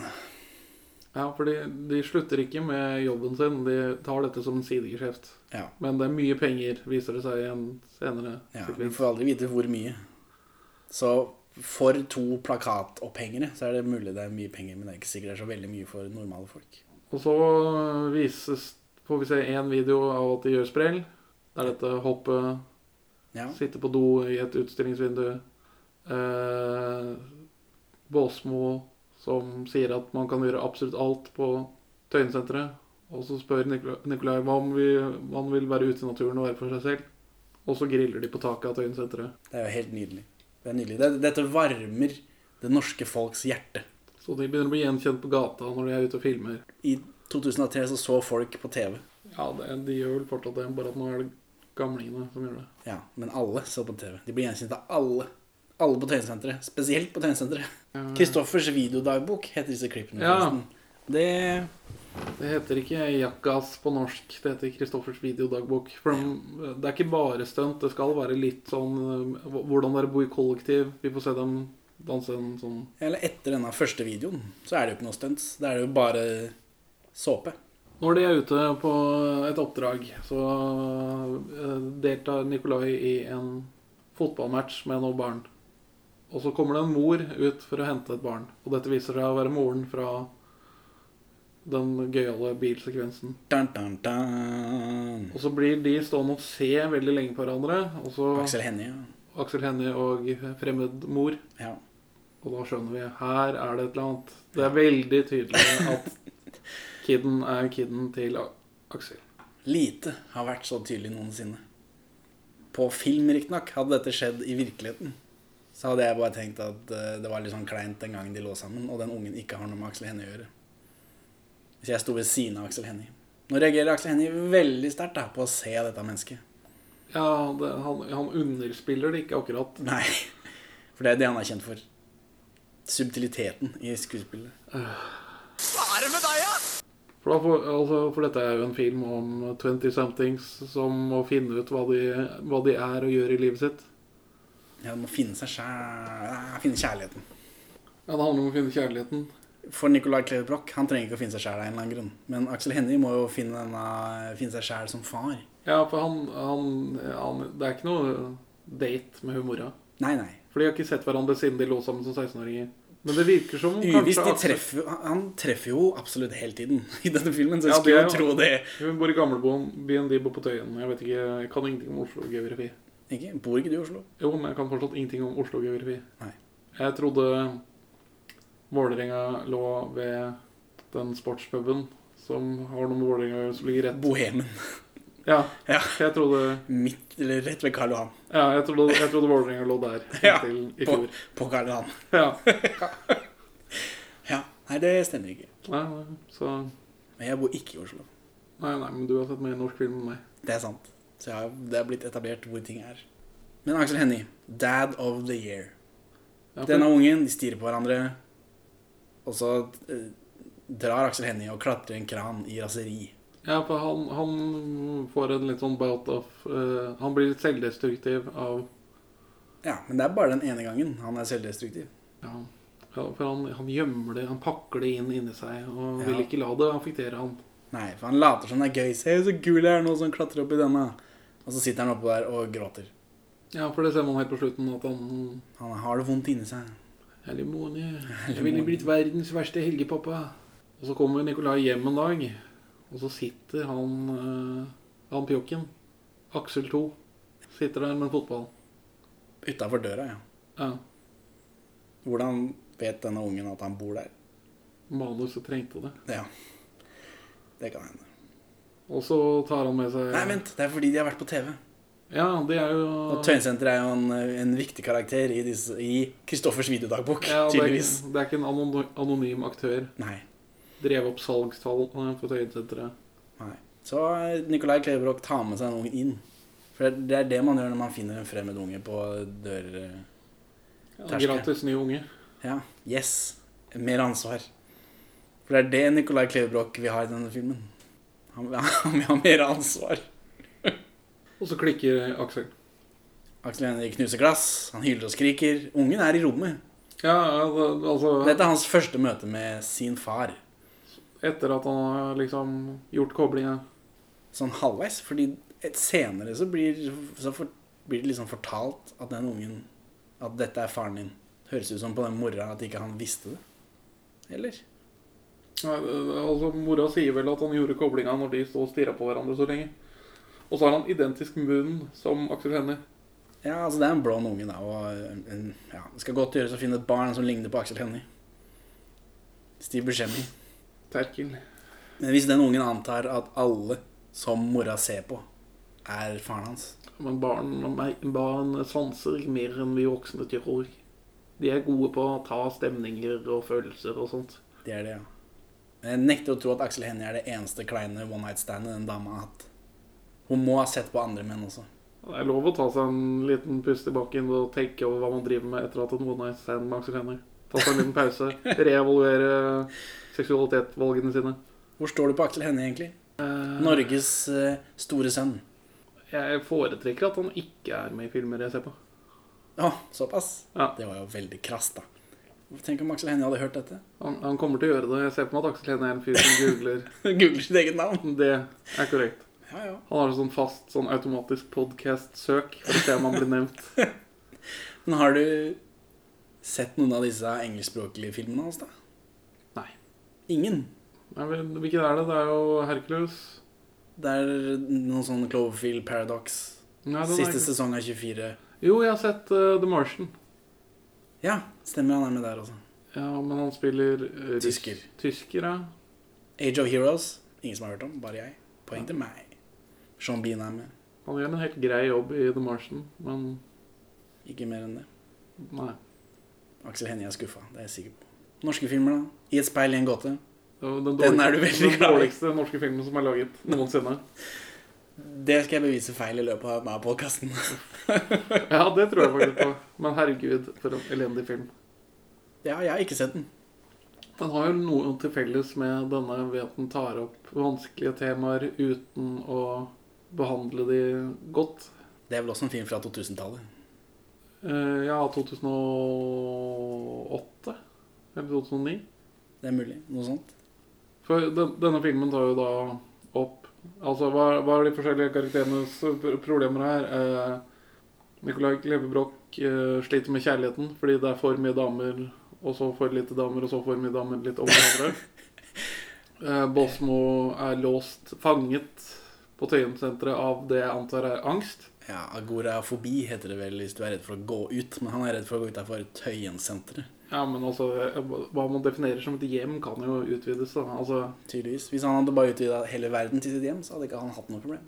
Ja, for de, de slutter ikke med jobben sin, de tar dette som en sidegeskjeft.
Ja,
Men det er mye penger, viser det seg i en senere
ja, vi
sekvens.
får aldri vite hvor mye. Så for to plakatopphengere så er det mulig det er mye penger, men det er ikke sikkert det er så veldig mye for normale folk.
Og så vises, får vi se én video av at de gjør sprell. Det er dette hoppet,
Ja,
sitte på do i et utstillingsvindu. Eh, Båsmo som sier at man kan gjøre absolutt alt på Tøyensenteret. Og så spør Nikol- Nikolai hva om vi, man vil være ute i naturen og være for seg selv. Og så griller de på taket av Tøyensenteret.
det er jo helt nydelig. Det er nydelig. Det, dette varmer det norske folks hjerte.
Så de begynner å bli gjenkjent på gata når de er ute og filmer.
I 2003 så så folk på TV.
Ja, det, De gjør vel fortsatt det, bare at nå er det gamlingene som gjør det.
Ja, men alle så på TV. De blir gjenkjent av alle. Alle på Tøyensenteret. Spesielt på Tøyensenteret. Kristoffers videodagbok heter disse klippene.
Ja.
forresten. Det
Det heter ikke Jackass på norsk, det heter Kristoffers videodagbok. For de, det er ikke bare stunt, det skal være litt sånn eh, hv- Hvordan dere bor i kollektiv. Vi får se dem danse en sånn
Eller etter denne første videoen, så er det jo ikke noe stunts. Da er det jo bare såpe.
Når de er ute på et oppdrag, så eh, deltar Nikolai i en fotballmatch med noen barn. Og så kommer det en mor ut for å hente et barn. Og dette viser seg å være moren fra den gøyale bilsekvensen.
Dun, dun, dun.
Og så blir de stående og se veldig lenge på hverandre. Og så
Aksel Hennie.
Aksel Hennie og fremmed mor.
Ja.
Og da skjønner vi her er det et eller annet. Det er veldig tydelig at kiden er kiden til A- Aksel.
Lite har vært så tydelig noensinne. På film, riktignok. Hadde dette skjedd i virkeligheten, så hadde jeg bare tenkt at eh, det var litt sånn kleint den gangen de lå sammen, og den ungen ikke har noe med Aksel Hennie å gjøre. Hvis jeg sto ved siden av Aksel Hennie. Nå reagerer Aksel Hennie veldig sterkt da, på å se dette mennesket.
Ja, det, han, han underspiller det ikke akkurat.
Nei. For det er det han er kjent for. Subtiliteten i skuespillet.
For, da får, altså, for dette er jo en film om 20-somethings som må finne ut hva de, hva de er og gjør i livet sitt.
Ja, det må finne seg sjæl... Finne kjærligheten.
Ja, Det handler om å finne kjærligheten.
For Nicolai Kleve Broch, han trenger ikke å finne seg sjæl av en eller annen grunn. Men Aksel Hennie må jo finne, denne, finne seg sjæl som far.
Ja, for han, han, han Det er ikke noe date med hun mora.
Nei, nei.
For de har ikke sett hverandre siden de lå sammen som 16-åringer. Men det virker som om
Uvisst, de
Aksel-
treffer, jo- han treffer jo absolutt hele tiden i denne filmen, så
Ja,
jeg skulle jo
det er jo-
tro det.
Hun bor i gamlebyen, byen de bor på Tøyen. Jeg vet ikke, jeg kan ingenting om Oslo-geografi.
Ikke? Bor ikke du i Oslo?
Jo, men jeg kan fortsatt ingenting om Oslo-geografi.
Nei.
Jeg trodde Vålerenga lå ved den sportspuben som har noe med Vålerenga å gjøre, som ligger rett
Bohemen.
Ja,
Ja.
jeg trodde,
Midt, eller rett ved Karl Johan.
ja, jeg trodde, jeg trodde Vålerenga lå der
Ja,
inntil i
På,
fjor.
på Karl Johan.
Ja.
Ja. Nei, det stemmer ikke.
Nei, nei, så
Men jeg bor ikke i Oslo.
Nei, nei, men du har sett mer norsk film enn meg.
Det er sant. Så jeg har, det har blitt etablert hvor ting er. Men Aksel Hennie, dad of the year.
Ja, for-
Denne ungen, de stirrer på hverandre. Og så eh, drar Aksel Hennie og klatrer i en kran i raseri.
Ja, for han, han får en litt sånn bout of eh, Han blir litt selvdestruktiv av
Ja, men det er bare den ene gangen han er selvdestruktiv.
Ja, ja for han, han gjemmer det, han pakker det inn inni seg og
Ja.
vil ikke la det affektere han.
Nei, for han later som det er gøy. Se så kul jeg er nå som klatrer opp i denne. Og så sitter han oppå der og gråter.
Ja, for det ser man helt på slutten at han
Han har det vondt inni seg.
Helimone, jeg ville blitt verdens verste helgepappa. Og så kommer Nikolai hjem en dag, og så sitter han eh, Han pjokken, Aksel 2, sitter der med en fotball.
Utafor døra, ja.
Ja,
Hvordan vet denne ungen at han bor der?
manuset trengte det.
Ja. Det kan hende.
Og så tar han med seg
Nei, vent. Det er fordi de har vært på TV.
Ja, det er jo
Og Tøyensenteret er jo en, en viktig karakter i, disse, i Kristoffers videodagbok,
Ja, det, er,
tydeligvis.
ikke- det er ikke en anony- anonym aktør.
Nei.
Drev opp salgstall eh, for Tøyensenteret.
nei. Så eh, Nicolai Klevebrok tar med seg en unge inn. For det er det man gjør når man finner en fremmed unge på dør...
Ja,
Terskel.
gratis ny unge.
Ja. Yes. Mer ansvar. For det er det Nicolai Klevebrok vil ha i denne filmen. Han, han vil ha mer ansvar.
Og så klikker Aksel.
Aksel Hennie knuser glass, han hyler og skriker. Ungen er i rommet.
Ja, ja, det- altså
Dette er hans første møte med sin far.
Etter at han har liksom gjort koblinga.
sånn halvveis. Fordi et senere så blir, så for, blir det liksom fortalt at den ungen At dette er faren din. Høres ut som på den mora at ikke han visste det. Eller?
Ja, eh, Altså, mora sier vel at han gjorde koblinga når de sto og stirra på hverandre så lenge. Og så har han identisk munn som Aksel Hennie.
Ja, altså det er en blond unge, da. Og en, ja, det skal godt gjøres å finne et barn som ligner på Aksel Hennie. Steve Buscemi.
Terkel.
Men hvis den ungen antar at alle som mora ser på, er faren hans
Men barn, og meg- barn sanser mer enn vi voksne tror. De er gode på å ta stemninger og følelser og sånt.
Det er det, ja. Men jeg nekter å tro at Aksel Hennie er det eneste kleine one night standet den dama har hatt. Hun må ha sett på andre menn også.
Det er lov å ta seg en liten pust i bakken og tenke over hva man driver med etter at en one night stand med Aksel Hennie. Ta seg en liten pause, reevaluere seksualitetvalgene sine.
Hvor står du på Aksel Hennie, egentlig? Norges eh, store sønn.
Jeg foretrekker at han ikke er med i filmer jeg ser på.
Å, såpass?
Ja.
Det var jo veldig krast, da. Tenk om Aksel Hennie hadde hørt dette.
Han, han kommer til å gjøre det. Jeg ser på meg at Aksel Hennie er en fyr som googler.
Googler sitt eget navn.
Det er korrekt.
Ja, ja.
Han har en sånn fast sånn automatisk podcast-søk for å se om han blir nevnt.
Men har du sett noen av disse engelskspråklige filmene hans, da?
Nei.
Ingen?
Nei, men Hvilken er det? Det er jo Hercules.
Det er noen sånne Cloverfield Paradox.
Nei, den er
Siste
ikke-
sesong av 24.
Jo, jeg har sett eh, The Martian.
Ja, stemmer han er med der også.
Ja, men han spiller eh, russ-
Tysker.
Tysker, ja.
Age of Heroes. Ingen som har hørt om, bare jeg. Poeng til meg. Sean Bean er med.
Han gjør en helt grei jobb i The Martian, men
Ikke mer enn det.
nei.
Aksel Hennie er skuffa, det er jeg sikker på. Norske filmer, da? I et speil i en gåte.
Det var Den,
Den er
dårligste-
du veldig
den
glad i.
dårligste norske filmen som er laget noensinne.
Det skal jeg bevise feil i løpet av meg og podkasten.
Ja, det tror jeg faktisk på. Men herregud, for en elendig film.
ja, jeg har ikke sett den.
Den har jo noe til felles med denne ved at den tar opp vanskelige temaer uten å behandle de godt.
Det er vel også en film fra 2000-tallet.
Eh, ja, 2008? Eller 2009?
Det er mulig. Noe sånt.
For den, denne filmen tar jo da opp Altså, hva, hva er de forskjellige karakterenes pr- problemer her? Eh, Nicolai Klevebrok eh, sliter med kjærligheten fordi det er for mye damer, og så for lite damer, og så for mye damer litt over hverandre. Eh, Båsmo er låst, fanget, på Tøyensenteret av det jeg antar er angst.
Ja, Agorafobi heter det vel hvis du er redd for å gå ut. Men han er redd for å gå utafor Tøyensenteret.
Ja, men altså, eh, hva man definerer som et hjem, kan jo utvides, da. Altså,
Tydeligvis. Hvis han hadde bare utvida hele verden til sitt hjem, så hadde ikke han hatt noe problem.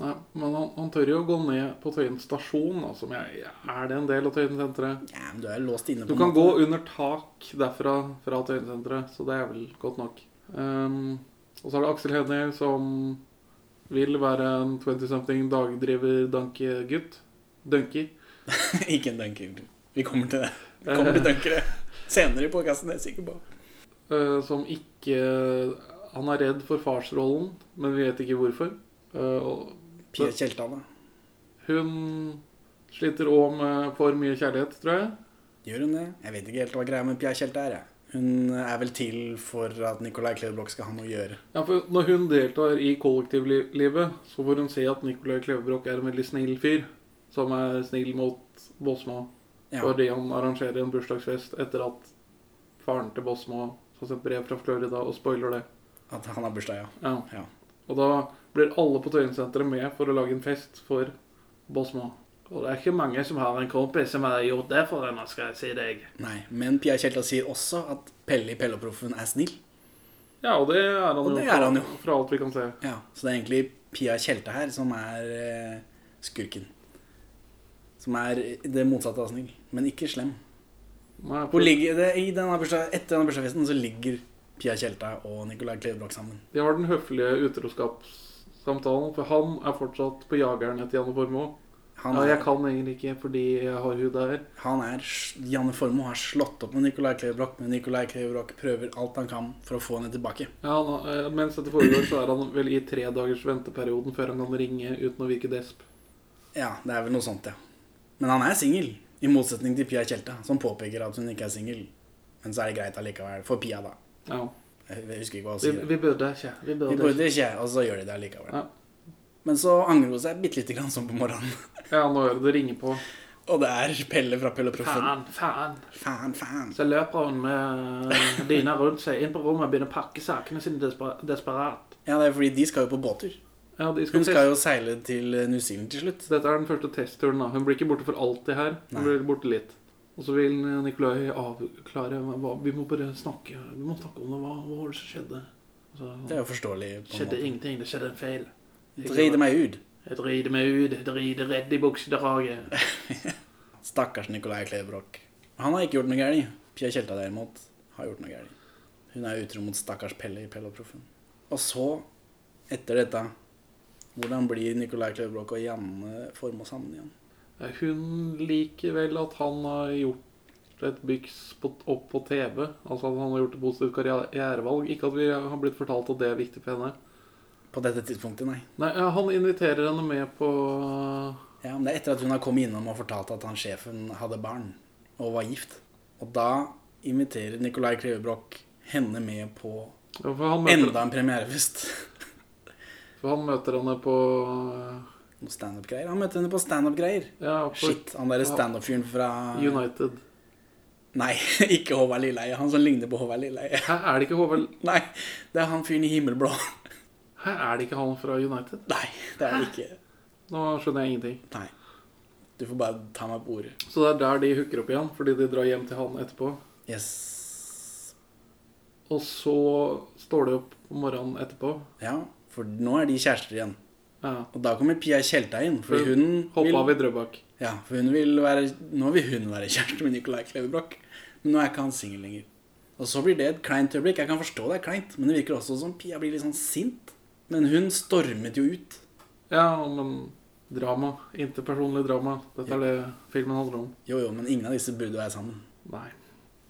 Nei, men han, han tør jo å gå ned på Tøyen stasjon, da, som jeg, er det en del av Tøyen senteret.
Ja, men du er låst inne
Du
på
kan
en
gå
måte.
under tak derfra fra Tøyen senteret, så det er vel godt nok. Ehm, og så er det Aksel Hennie som vil være en 20-something dagdriver dankegutt. Dunky.
ikke en dunker. Vi kommer til det. Vi kommer til dunkere senere i podkasten, det er jeg sikker på.
eh, som ikke Han er redd for farsrollen, men vi vet ikke hvorfor. Eh, og
Pia Tjeltan, da.
hun sliter òg med for mye kjærlighet, tror jeg.
Gjør hun det? Jeg vet ikke helt hva greia med Pia Tjelta er. jeg. Hun er vel til for at Nicolai Klevebrok skal ha noe å gjøre.
Ja, for Når hun deltar i kollektivlivet, så får hun se at Nicolai Klevebrok er en veldig snill fyr. Som er snill mot Båsmo
Ja.
fordi han arrangerer en bursdagsfest etter at faren til Båsmo har sendt brev fra Florida og spoiler det.
At han har bursdag, ja.
Ja.
Ja.
Og da blir alle på Tøyensenteret med for å lage en fest for Båsmo. Og det er ikke mange som har en kompis som har gjort det for henne, skal jeg si deg.
Nei, men Pia Tjelta sier også at Pelle i Pelleproffen er snill.
Ja, og det er han,
Og
jo,
det er han jo.
fra- fra alt vi kan se.
Ja, Så det er egentlig Pia Tjelta her som er eh, skurken. Som er det motsatte av snill, men ikke slem.
Nei, for-
Hvor ligger det, i denne bursdag, etter denne bursdagsfesten så ligger Pia Tjelta og Nicolai Klevebrok sammen.
De har den høflige utroskapssamtalen, for han er fortsatt på jageren etter Janne Formoe.
Han
Ja, jeg
er,
kan egentlig ikke fordi jeg har hud der.
han er s- Janne Formoe har slått opp med Nicolai Klevebrok, men Nicolai Klevebrok prøver alt han kan for å få henne tilbake.
Ja, han, eh, mens dette foregår, så er han vel i tre dagers venteperioden før han kan ringe uten å virke desp.
Ja, det er vel noe sånt, ja. Men han er singel, i motsetning til Pia Tjelta, som påpeker at hun ikke er singel. Men så er det greit allikevel, for Pia, da.
Ja.
Jeg husker ikke hva hun
Vi,
sier.
vi burde ikke. Vi
De
burde ikke.
burde ikke, og så gjør de det allikevel.
Ja.
Men så angrer hun seg bitte lite grann sånn på morgenen.
Ja, nå er det det ringer på.
Og det er Pelle fra Pelle og Proffen.
Faen, faen.
Faen, faen.
Så løper hun med eh, dyna rundt seg inn på rommet og begynner å pakke sakene sine desper desperat.
Ja, det er fordi de skal jo på båttur.
Ja, de skal
Hun
teste.
skal jo seile til New Zealand til slutt.
Dette er den første testturen. da. Hun blir ikke borte for alltid her.
Nei.
Hun blir borte litt. Og så vil Nikolai avklare hva, Vi må bare snakke Vi må snakke om det. Hva, hva var det som skjedde? Så,
Det er jo forståelig. på en
skjedde
måte.
ingenting. Det skjedde en feil.
Drite meg ut.
Jeg driter meg ut. Jeg driter redd i buksedraget.
Stakkars Nicolai Klevebrok. Han har ikke gjort noe galt. Pia Tjelta derimot har gjort noe galt. Hun er utro mot stakkars Pelle i Pelle og Proffen. Og så, etter dette, hvordan blir Nicolai Klevebrok og Janne Formoe sammen igjen?
Hun liker vel at han har gjort et byks på, opp på TV. Altså at han har gjort et positivt karrierevalg. Ikke at vi har blitt fortalt at det er viktig for henne.
På dette tidspunktet, nei.
Nei, ja, Han inviterer henne med på
Ja, men det er etter at hun har kommet innom og fortalt at han sjefen hadde barn og var gift. Og da inviterer Nicolai Klevebrok henne med på
Ja, for han møter,
enda en premierefest.
for han møter henne på eh,
Noe standup-greier. Han møter henne på standup-greier.
Ja, for
Shit, han derre standup-fyren fra
United.
Nei, ikke Håvard Lilleheie. Han som ligner på Håvard Lilleheie.
Hæ, er det ikke Håvard
Nei, det er han fyren i himmelblå.
Hæ, er det ikke han fra United?
Nei, det er det ikke.
Nå skjønner jeg ingenting.
Nei. Du får bare ta meg på ordet.
Så det er der de hooker opp igjen, fordi de drar hjem til han etterpå.
Yes.
Og så står de opp om morgenen etterpå.
Ja, for nå er de kjærester igjen.
Ja.
Og da kommer Pia Tjelta inn, fordi hun
Hoppa av
vil,
i Drøbak.
ja, for hun vil være, Nå vil hun være kjæreste med Nicolai Klevebrok, men nå er ikke han singel lenger. Og så blir det et kleint øyeblikk. Jeg kan forstå det er kleint, men det virker også som Pia blir litt sånn sint. Men hun stormet jo ut.
Ja, men drama. Interpersonlig drama. Dette er det filmen handler om.
Jo, jo, men ingen av disse burde være sammen.
Nei.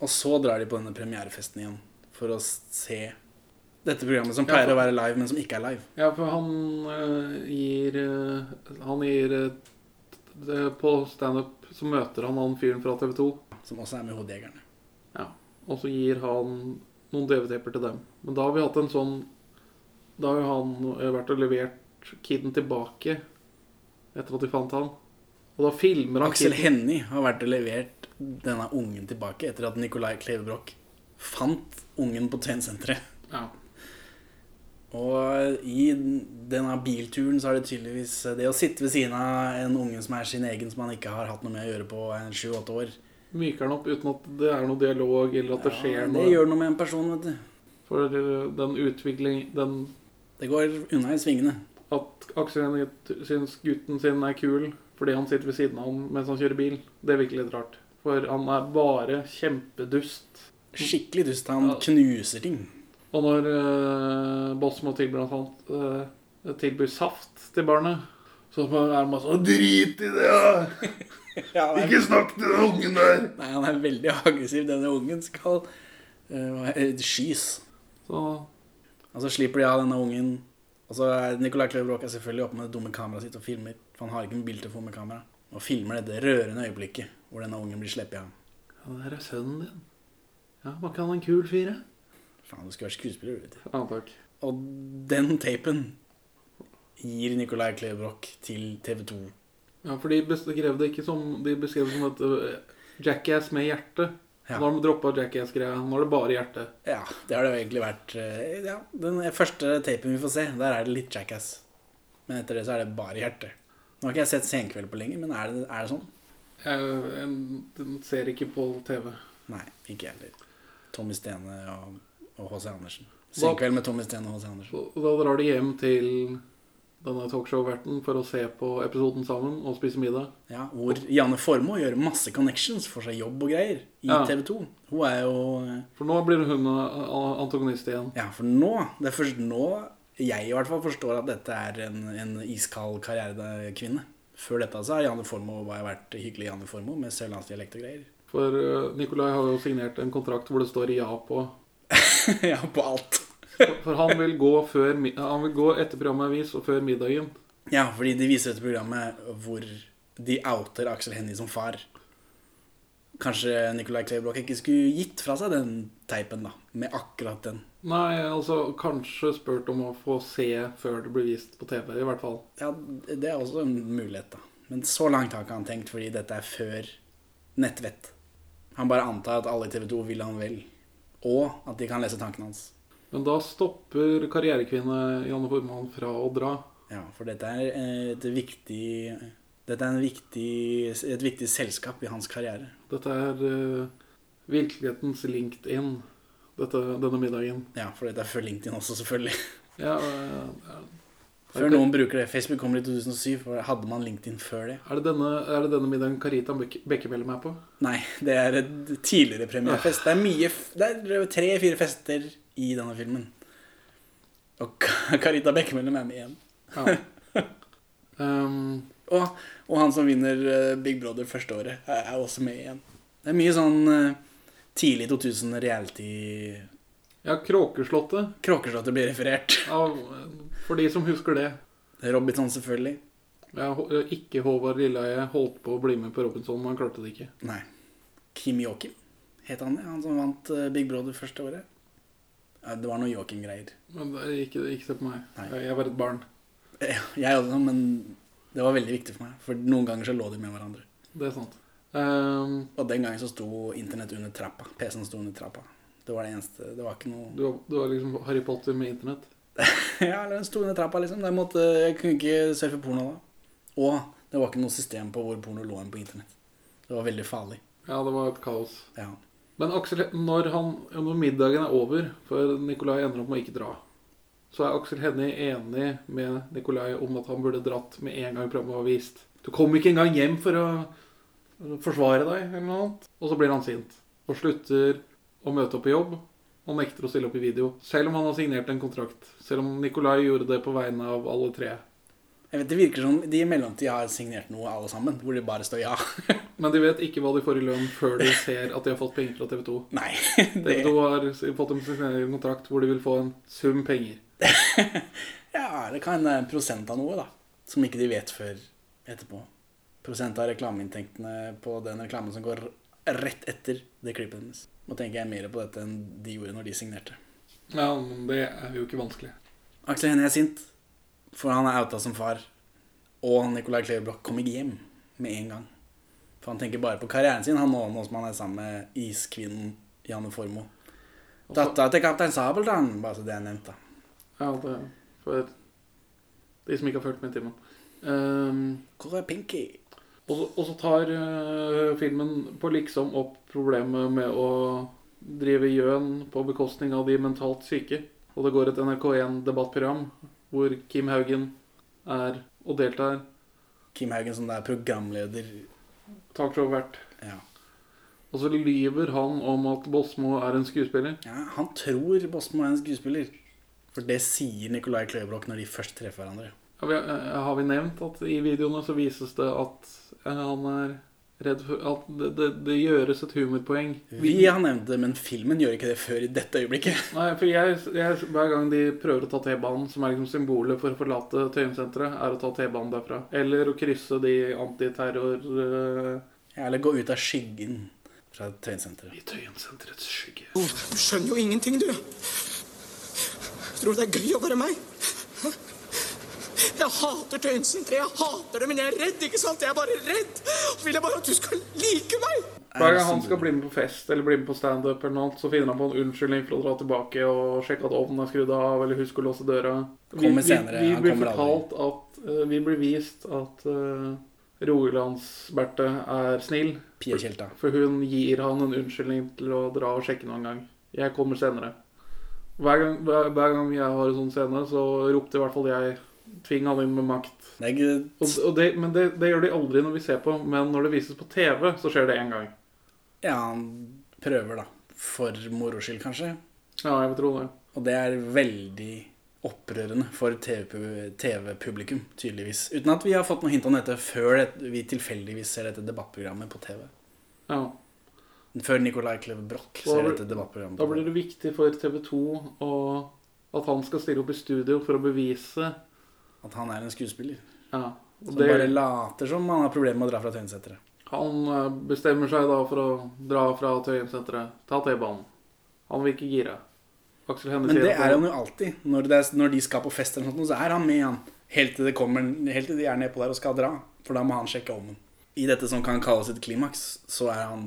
Og så drar de på denne premierefesten igjen for å se dette programmet som pleier å være live, men som ikke er live.
Ja, for han eh, gir eh, Han gir eh, t- t- På standup så møter han han fyren fra TV 2.
Som også er med Hodejegerne.
Ja. Og så gir han noen DV-tepper til dem. Men da har vi hatt en sånn Da har jo han eh, vært og levert kiden tilbake etter at de fant han. Og da filmer han
Aksel
kiden.
Hennie har vært og levert denne ungen tilbake etter at Nicolai Klevebrok fant ungen på Tvensenteret.
Ja.
Og i denne bilturen så er det tydeligvis det å sitte ved siden av en unge som er sin egen, som han ikke har hatt noe med å gjøre på en sju-åtte år.
Myker han opp uten at det er noe dialog eller at det skjer
Det
noe.
gjør noe med en person, vet du.
For eh, den utvikling Den
Det går unna i svingene.
at Aksel Hennie t- syns gutten sin er kul fordi han sitter ved siden av ham mens han kjører bil, det virker litt rart. For han er bare kjempedust.
Skikkelig dust. Han
Ja.
knuser ting.
Og når eh, Bosmo tilbyr at han eh, tilbyr saft til barnet, så er han bare sånn Drit i det! da! Ikke snakk til den ungen der!
Nei, han er veldig aggressiv. Denne ungen skal eh, skys.
Så
Og så slipper de av denne ungen. Og så er Nicolai Kløverbrok er selvfølgelig oppe med det dumme kameraet sitt og filmer. For han har ikke en biltelefon med kamera. Og filmer dette rørende øyeblikket hvor denne ungen blir sluppet av.
Han der er sønnen din. Ja, var ikke han en kul fyr? jeg?»
Faen, du skulle vært skuespiller, du, vet du.
Ja, takk.
Og den tapen gir Nicolai Kløverbrok til TV 2.
Ja, for de beskrev det ikke som De beskrev det som et øh, jackass med hjerte.
Ja.
Nå har de droppa jackass-greia. Nå er det bare hjerte.
Ja, det har det jo egentlig vært. eh, Ja, den første tapen vi får se, der er det litt Jackass. Men etter det så er det bare hjerte. Nå har ikke jeg sett Senkveld på lenge, men er det, er det sånn?
Jeg, jeg, den ser ikke på TV.
Nei, ikke jeg heller. Tommy Stene og og H.C. Andersen. Senkveld med Tommy Stene og H.C. Andersen.
Så da drar de hjem til denne talkshow-verten for å se på episoden sammen og spise middag.
Ja, hvor Janne Formoe gjør masse connections, får seg jobb og greier i
Ja.
TV 2. Hun er jo eh,
For nå blir hun øh, antagonist igjen.
Ja, for nå Det er først nå jeg i hvert fall forstår at dette er en, en iskald karrierekvinne. Før dette så har Janne Formoe bare vært hyggelig Janne Formoe med sørlandsdialekt og greier.
For øh, Nikolai har jo signert en kontrakt hvor det står ja på.
ja, på alt.
For han vil gå, før, mi- han vil gå etter programmet er vist og før middagen.
Ja, fordi de viser dette programmet hvor de outer Aksel Hennie som far. Kanskje Nicolai Klevebrok ikke skulle gitt fra seg den teipen, da. Med akkurat den.
Nei, altså kanskje spurt om å få se før det blir vist på TV, i hvert fall.
Ja, det er også en mulighet, da. Men så langt har ikke han tenkt, fordi dette er før nettvett. Han bare antar at alle i TV 2 vil han vel. Og at de kan lese tankene hans.
Men da stopper karrierekvinne Janne Formann fra å dra.
Ja, for dette er eh, et viktig Dette er en viktig, et viktig selskap i hans karriere.
Dette er eh, virkelighetens LinkedIn, dette, denne middagen.
Ja, for dette er før LinkedIn også, selvfølgelig.
Ja, eh,
Før
Ok.
noen bruker det. Facebook kommer i 2007. for Hadde man LinkedIn før det?
er, det denne, er det denne middagen Karita Bekke- Bekkemellem er på?
Nei, det er et tidligere premierefest. Det er mye f- Det er tre-fire fester i denne filmen. Og Ka- Carita Bekkemellem er med igjen.
Ja. Ehm,
Og, og han som vinner eh, Big Brother første året, er er også med igjen. Det er mye sånn eh, tidlig 2000 reality
ja, Kråkeslottet.
Kråkeslottet blir referert.
Av, eh, for de som husker det.
Robinson, selvfølgelig.
Ja, Hå- ikke Håvard Lilleheie holdt på å bli med på Robinson, men han klarte det ikke.
Nei. Kim Joakim het han det. Han som vant eh, Big Brother første året. Ja, det var noe Joakim-greier.
Men det er ikke, ikke se på meg.
Nei.
Jeg- Jeg var et barn.
Eh, Jeg også, men det var veldig viktig for meg. For noen ganger så lå de med hverandre.
Det er sant. Ehm,
Og den gangen så sto internett under trappa. PC-en sto under trappa. Det var det eneste. Det var ikke noe
du, var- du var liksom Harry Potter med internett.
Ja, eller den sto under trappa, liksom. Der måtte, jeg kunne ikke surfe porno da. Og Det var ikke noe system på hvor porno lå hen på internett. Det var veldig farlig.
Ja, det var et kaos.
Ja.
Men Aksel, når, han, når middagen er over, for Nikolai ender opp med å ikke dra, så er Aksel Hennie enig med Nikolai om at han burde dratt med en gang programmet var vist. Du kom ikke engang hjem for å forsvare deg, eller noe annet. Og så blir han sint. Og slutter å møte opp på jobb, og nekter å stille opp i video. Selv om han har signert en kontrakt. Selv om Nikolai gjorde det på vegne av alle tre.
Jeg vet, Det virker som de i mellomtida har signert noe, alle sammen, hvor det bare står ja.
Men de vet ikke hva de får i lønn før de ser at de har fått penger fra TV 2.
Nei. Det,
TV 2 har fått dem til å signere en kontrakt hvor de vil få en sum penger.
ja, det kan hende en prosent av noe, da. Som ikke de vet før etterpå. Prosent av reklameinntektene på den reklamen som går rett etter det klippet hennes. Nå tenker jeg mer på dette enn de gjorde når de signerte.
Ja, men det er jo ikke vanskelig.
Aksel Hennie er sint, for han er outa som far. Og Nicolai Kleverblokk kom ikke hjem med en gang. For han tenker bare på karrieren sin, han nå, nå som han er sammen med iskvinnen Janne Formoe. Dattera til kaptein Sabeltann, bare så det er nevnt, da.
Ja, det er for de som ikke har fulgt med i timen. Ehm,
Hvor er Pinky?
og, så- og så tar eh, filmen på liksom opp problemet med å drive gjøn på bekostning av de mentalt syke. Og det går et NRK1-debattprogram hvor Kim Haugen er og deltar.
Kim Haugen som da er programleder.
Talkshow-vert.
Ja.
Og så lyver han om at Bosmo er en skuespiller.
ja han tror Bosmo er en skuespiller. For det sier Nicolai Kleverblokk når de først treffer hverandre.
Har vi, eh, har vi nevnt at i videoene så vises det at eh, han er redd for At det, det, det gjøres et humorpoeng.
Vi har nevnt det, men filmen gjør ikke det før i dette øyeblikket.
Nei, for jeg, jeg, Hver gang de prøver å ta T-banen, som er liksom symbolet for å forlate Tøyensenteret, er å ta T-banen derfra. Eller å krysse de antiterror... eh,
Ja, Eller gå ut av skyggen fra Tøyensenteret.
I Tøyensenterets skygge.
Du skjønner jo ingenting, du. Tror du det er gøy å være meg? Hæ? Jeg hater Tøyensenteret. Jeg hater det, men jeg er redd, ikke sant? Jeg er bare redd. Og vil jeg bare at du skal like meg.
Hver gang han
altså,
skal bli med på fest eller bli med på standup, eller noe annet, så finner han på en unnskyldning for å dra tilbake og sjekke at ovnen er skrudd av, eller huske å låse døra. Vi,
Kommer
vi,
senere,
vi
han
blir
kommer aldri.
fortalt at eh, Vi blir vist at uh, Rogalands-Berthe er snill,
Pia Tjelta.
for hun gir han en unnskyldning til å dra og sjekke noen gang. Jeg kommer senere. Hver gang, hver, hver gang jeg har en sånn scene, så ropte i hvert fall jeg 'tving han inn med makt'.
Det er ikke
Og, og det, men det, det gjør de aldri når vi ser på, men når det vises på TV, så skjer det én gang.
Ja, han prøver, da. For moro skyld, kanskje.
Ja, jeg vil tro det.
Og det er veldig opprørende for TV-pub- TV-publikum, tydeligvis. Uten at vi har fått noe hint om dette før det- vi tilfeldigvis ser dette debattprogrammet på TV.
Ja.
Før Nicolai Kleve Broch
Da
ser
blir-
dette debattprogrammet.
Da blir
På TV.
det viktig for TV 2 at han skal stille opp i studio for å bevise
At han er en skuespiller.
ja. og
Som
det,
bare later som han har problemer med å dra fra Tøyensenteret.
Han eh, bestemmer seg da for å dra fra Tøyensenteret. Ta T-banen. Han virker gira. Aksel Hennie
Men
sier
det
at
er han jo alltid. Når, det er, når de skal på fest, eller noe sånt, så er han med igjen. Helt til, det kommer, helt til de er nedpå der og skal dra. For da må han sjekke ovnen. I dette som kan kalles et klimaks, så er han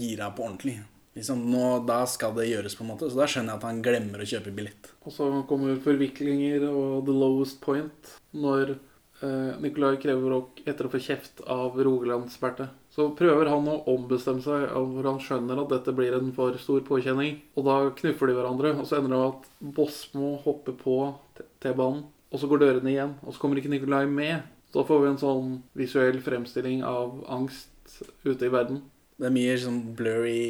gira på ordentlig. Liksom, nå, da skal det gjøres, på en måte. Så da skjønner jeg at han glemmer å kjøpe billett.
Og så kommer forviklinger og the lowest point når eh, Nicolai Kreverok, etter å få kjeft av Rogalandsberthe, så prøver han å ombestemme seg, og hvor han skjønner at dette blir en for stor påkjenning. Og da knuffer de hverandre, og så ender det med at Bosmo hopper på T- T-banen, og så går dørene igjen, og så kommer ikke Nicolai med. Så da får vi en sånn visuell fremstilling av angst ute i verden.
Det er mye sånn blurry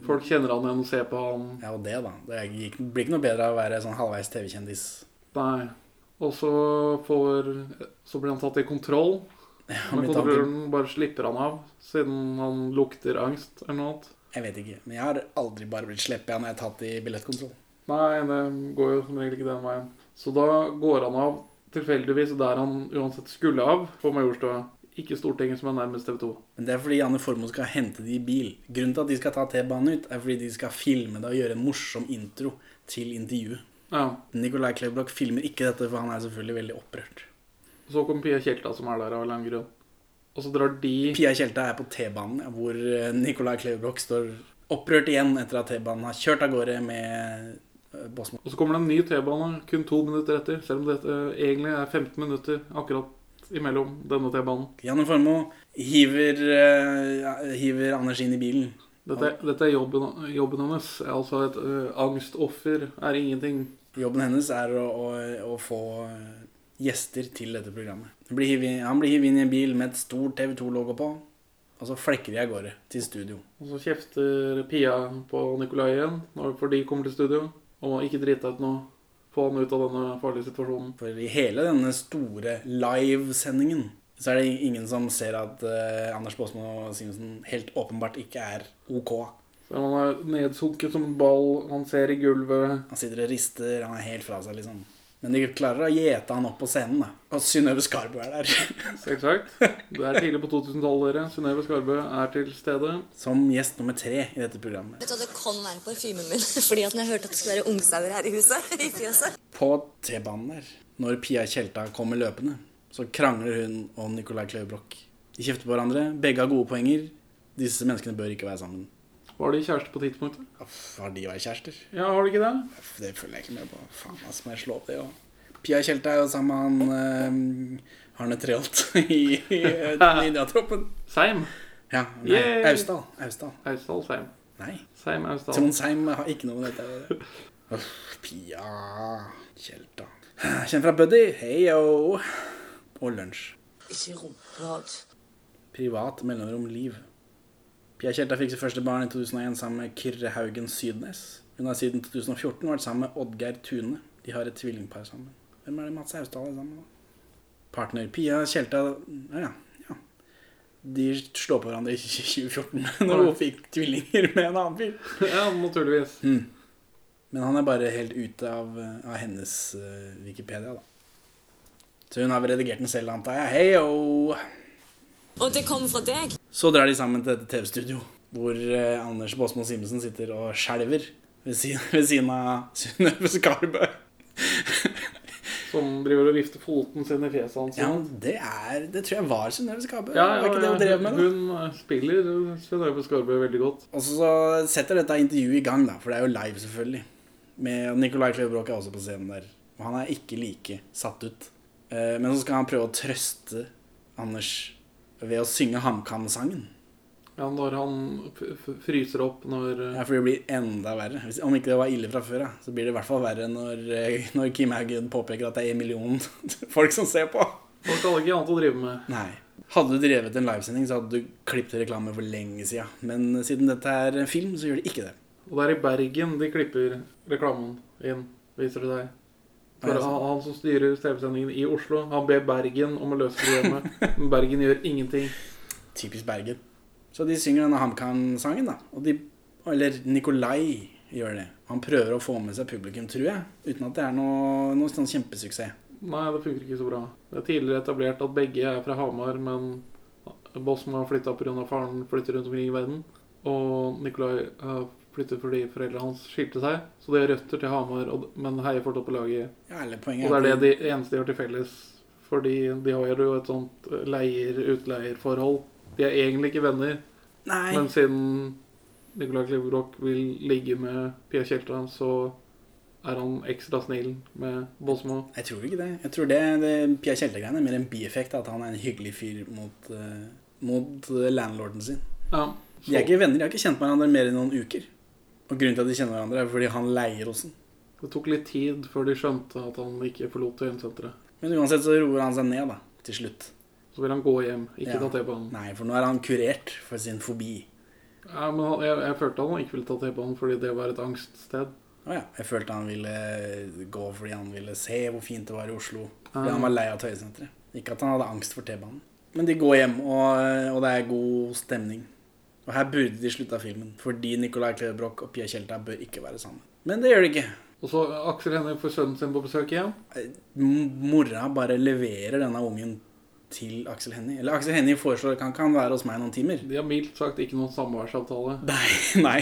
Folk kjenner han igjen og ser på han.
Ja, og det, da. Det er ikke- blir ikke noe bedre av å være sånn halvveis TV-kjendis.
Nei. Og så får Så blir han tatt i kontroll. Men
blitt tatt i-
kontrolløren bare slipper han av, siden han lukter angst eller noe annet.
Jeg vet ikke. Men jeg har aldri bare blitt sleppet av når jeg er tatt i billettkontroll.
Nei, det går jo som regel ikke den veien. Så da går han av tilfeldigvis der han uansett skulle av, på Majorstua. Ikke Stortinget, som er nærmest TV 2.
Men det er fordi Janne Formoe skal hente de i bil. Grunnen til at de skal ta T-banen ut, er fordi de skal filme det og gjøre en morsom intro til intervjuet.
Ja.
Nicolai Kleverblokk filmer ikke dette, for han er selvfølgelig veldig opprørt.
Og så kommer Pia Tjelta, som er der av en eller annen grunn. Og så drar de
Pia Tjelta er på T-banen, ja, hvor eh, Nicolai Kleverblokk står opprørt igjen etter at T-banen har kjørt av gårde med eh, Bosmo.
eh, Og så kommer det en ny T-bane kun to minutter etter, selv om dette egentlig er 15 minutter akkurat imellom denne T-banen.
Janne Formoe hiver, eh, hiver Anders inn i bilen.
Dette, dette er jobben, jobben hennes. Altså et ø, angstoffer er ingenting.
Jobben hennes er å, å, å få gjester til dette programmet. Han blir hivet inn- han blir hivet inn i en bil med et stort TV2-logo på, og så flekker de av gårde til studio.
Og så kjefter Pia på Nikolai igjen når, for de kommer til studio. Og ikke drite deg ut nå. Få han ut av denne farlige situasjonen.
For i hele denne store livesendingen så er det ingen som ser at eh, Anders Baasmo og Simensen helt åpenbart ikke er OK.
Så han er nedsunket som en ball, han ser i gulvet.
Han sitter og rister, han er helt fra seg, liksom. Men de klarer å gjete han opp på scenen, da. Og Synnøve Skarbo er der.
Selvsagt. Det er tidlig på 2000-tallet, dere. Synnøve Skarbø er til stede.
Som gjest nummer tre i dette programmet.
Vet du hva det kan være parfymen min? Fordi at når jeg hørte at det skulle være ungsauer her i huset. I fjøset.
På T-banen der, når Pia Tjelta kommer løpende, så krangler hun og Nicolai Klevebrok. De kjefter på hverandre. Begge har gode poenger. Disse menneskene bør ikke være sammen.
Var de kjærester på tidspunktet?
Uff, Har de vært kjærester?
Ja, har de ikke det?
Det følger jeg ikke med på. Faen, ass, må jeg slå opp det òg. Pia Tjelte er jo sammen med han eh, Arne Treholt i eh, Ninjatroppen.
Seim.
Ja, nei,
Yay!
Austdal. Austdal.
Austdal Seim.
Nei.
Seim Austdal.
Trond Seim har ikke noe med dette å gjøre. Uff, Pia Tjelta. Kjenner fra Buddy. Hei yo. Og lunsj.
Ikke romrat.
Privat mellomrom liv. Pia Tjelta fikk sitt første barn i 2001 sammen med Kyrre Haugen Sydnes. Hun har siden 2014 vært sammen med Oddgeir Tune. De har et tvillingpar sammen. Hvem er det Mats Austdal er sammen med? da? Partner Pia Tjelta Ja, ja. ja. De slår på hverandre i 2014 når hun fikk tvillinger med en annen fyr.
Ja, naturligvis.
Mm. Men han er bare helt ute av, av hennes eh, Wikipedia, da. Så hun har vel redigert den selv, antar jeg. Hei og
Og det kom fra deg?
Så drar de sammen til dette TV-studio, hvor eh, Anders Båsmo Simensen sitter og skjelver ved siden, ved siden av Synnøve Skarbø.
Som driver og vifter foten sin i fjeset hans.
Ja, men det er Det tror jeg var Synnøve Skarbø.
Ja,
var ikke det hun drev med, da?
Hun eh, spiller Synnøve Skarbø veldig godt.
Og så setter dette intervjuet i gang, da, for det er jo live, selvfølgelig. Med Nicolai Klevebrok er også på scenen der. Og han er ikke like satt ut. Eh, Men så skal han prøve å trøste Anders ved å synge HamKam-sangen.
Ja, når han f- f- fryser opp når eh,
Ja, for det blir enda verre. Hvis, om ikke det var ille fra før, ja, så blir det i hvert fall verre når, eh, når Kim Haugen påpeker at det er en million folk som ser på.
Folk hadde ikke annet å drive med.
Nei. Hadde du drevet en livesending, så hadde du klippet reklame for lenge siden. Men siden dette er en film, så gjør de ikke det.
Og det er i Bergen de klipper reklamen inn, viser det seg. For
Ja, altså.
han, han som styrer TV-sendingen i Oslo, han ber Bergen om å løse problemet. Men Bergen gjør ingenting.
Typisk Bergen. Så de synger denne HamKam-sangen, da. Og de, eller Nikolai gjør det. Han prøver å få med seg publikum, tror jeg. Uten at det er noe, noe sånn kjempesuksess.
Nei, det funker ikke så bra. Det er tidligere etablert at begge er fra Hamar, men Bosmo har flytta pga. faren flytter rundt omkring i verden. Og Nikolai eh, flyttet fordi foreldrene hans skilte seg. Så de har røtter til Hamar, og, men heier fortsatt på laget.
Ja, eller poenget
Og det er
at
det de eneste de har til felles. Fordi de har jo et sånt leier-utleierforhold. De er egentlig ikke venner,
Nei.
men siden Nicolai Klevebrok vil ligge med Pia Tjelta, så er han ekstra snill med Bosmo.
Jeg tror ikke det. Jeg tror det, det Pia Tjelte-greiene er mer en bieffekt. At han er en hyggelig fyr mot, eh, mot eh, landlorden sin.
Ja,
De er ikke venner. De har ikke kjent hverandre mer enn noen uker. Og grunnen til at de kjenner hverandre, er fordi han leier hos den.
Det tok litt tid før de skjønte at han ikke forlot Tøyensenteret.
Men uansett så roer han seg ned, da. Til slutt.
Så vil han gå hjem, ikke
Ja.
ta T-banen.
Nei, for nå er han kurert for sin fobi.
Ja, men han, jeg, jeg følte han ikke ville ta T-banen fordi det var et angststed.
Å ja. Jeg følte han ville gå fordi han ville se hvor fint det var i Oslo. Fordi han var lei av Tøyesenteret. Ikke at han hadde angst for T-banen. Men de går hjem, og, og det er god stemning. Og her burde de slutta filmen, fordi Nicolai Klevebrok og Pia Tjelta bør ikke være sammen. Men det gjør de ikke.
Og så Aksel Hennie får sønnen sin på besøk igjen.
M- Mora bare leverer denne ungen til Aksel Hennie. Eller Aksel Hennie foreslår kan ikke han være hos meg noen timer.
De har mildt sagt ikke noen samværsavtale.
Nei, nei.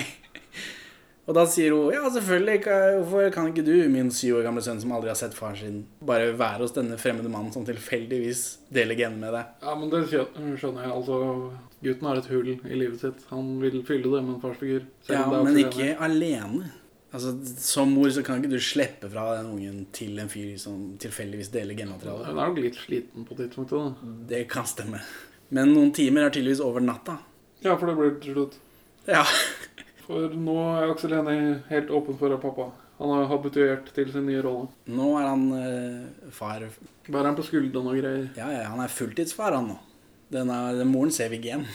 Og da sier hun ja, selvfølgelig, ka- hvorfor kan ikke du, min syv år gamle sønn som aldri har sett faren sin, bare være hos denne fremmede mannen som tilfeldigvis deler genene med deg?
Ja, men det skjø- skjønner jeg. Altså, gutten har et hull i livet sitt. Han vil fylle det med en farsfigur. selv
Ja,
om det er
men
Aksel Hennie.
ikke alene. Altså, Som mor så kan ikke du slippe fra den ungen til en fyr som tilfeldigvis deler genmaterialet.
Hun er nok litt sliten på tidspunktet. da.
Det kan stemme. Men noen timer er tydeligvis over natta.
Ja, for det blir det til slutt.
Ja.
For nå er Aksel Hennie helt åpen for av pappa. Han har habituert til sin nye rolle.
Nå er han eh, far
Bærer han på skuldrene og greier.
Ja, ja, han er fulltidsfar, han nå. Denne, den moren ser vi ikke igjen.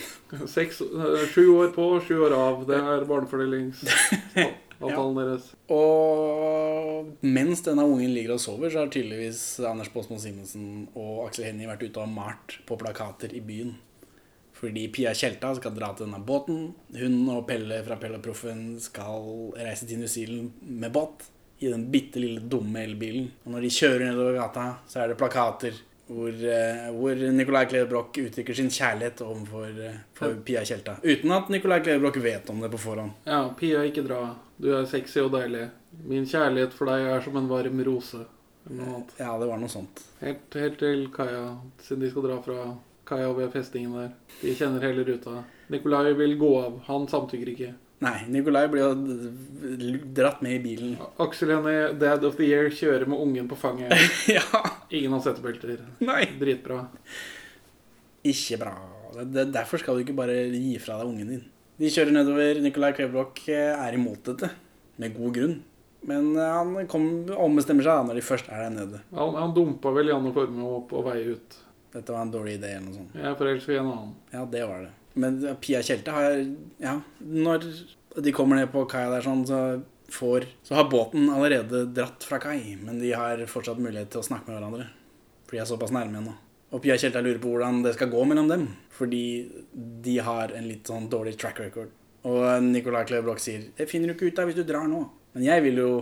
Seks, eh, sju år på, sju år av. Det er barnefordelingsavtalen deres.
Og mens denne ungen ligger og sover, så har tydeligvis Anders Båsmo Simensen og Aksel Hennie vært ute og malt på plakater i byen. Fordi Pia Tjelta skal dra til denne båten. Hun og Pelle fra Pelle og Proffen skal reise til New Zealand med båt. I den bitte lille dumme elbilen. Og når de kjører nedover gata, så er det plakater hvor, eh, hvor Nicolai Kleve Broch uttrykker sin kjærlighet overfor eh, for Pia Tjelta. Uten at Nicolai Kleve Broch vet om det på forhånd.
Ja, Pia, ikke dra. Du er sexy og deilig. Min kjærlighet for deg er som en varm rose. Eller noe annet.
Ja, det var noe sånt.
Helt, helt til kaia, siden de skal dra fra kaia og ved festningen der. De kjenner hele ruta. Nikolai vil gå av. Han samtykker ikke.
Nei, Nikolai blir jo dratt med i bilen.
Aksel Hennie, dad of the year, kjører med ungen på fanget.
ja,
Ingen har settebelter.
nei.
Dritbra.
Ikke bra. Det, det, derfor skal du ikke bare gi fra deg ungen din. De kjører nedover. Nikolai Klebrok er imot dette, med god grunn. Men eh, han kom, ombestemmer seg da når de først er der nede.
Han, han dumpa vel Janne Formoe opp på vei ut.
Dette var en dårlig idé eller noe sånt.
Jeg er forelska i en annen.
Ja, det var det. Men Pia Tjelte har Ja, når de kommer ned på kaia der sånn, så får Så har båten allerede dratt fra kai, men de har fortsatt mulighet til å snakke med hverandre. For de er såpass nærme ennå. Og Pia Tjelte lurer på hvordan det skal gå mellom dem. Fordi de har en litt sånn dårlig track record. Og Nicolai Kleve Broch sier Det finner du ikke ut av hvis du drar nå. Men jeg vil jo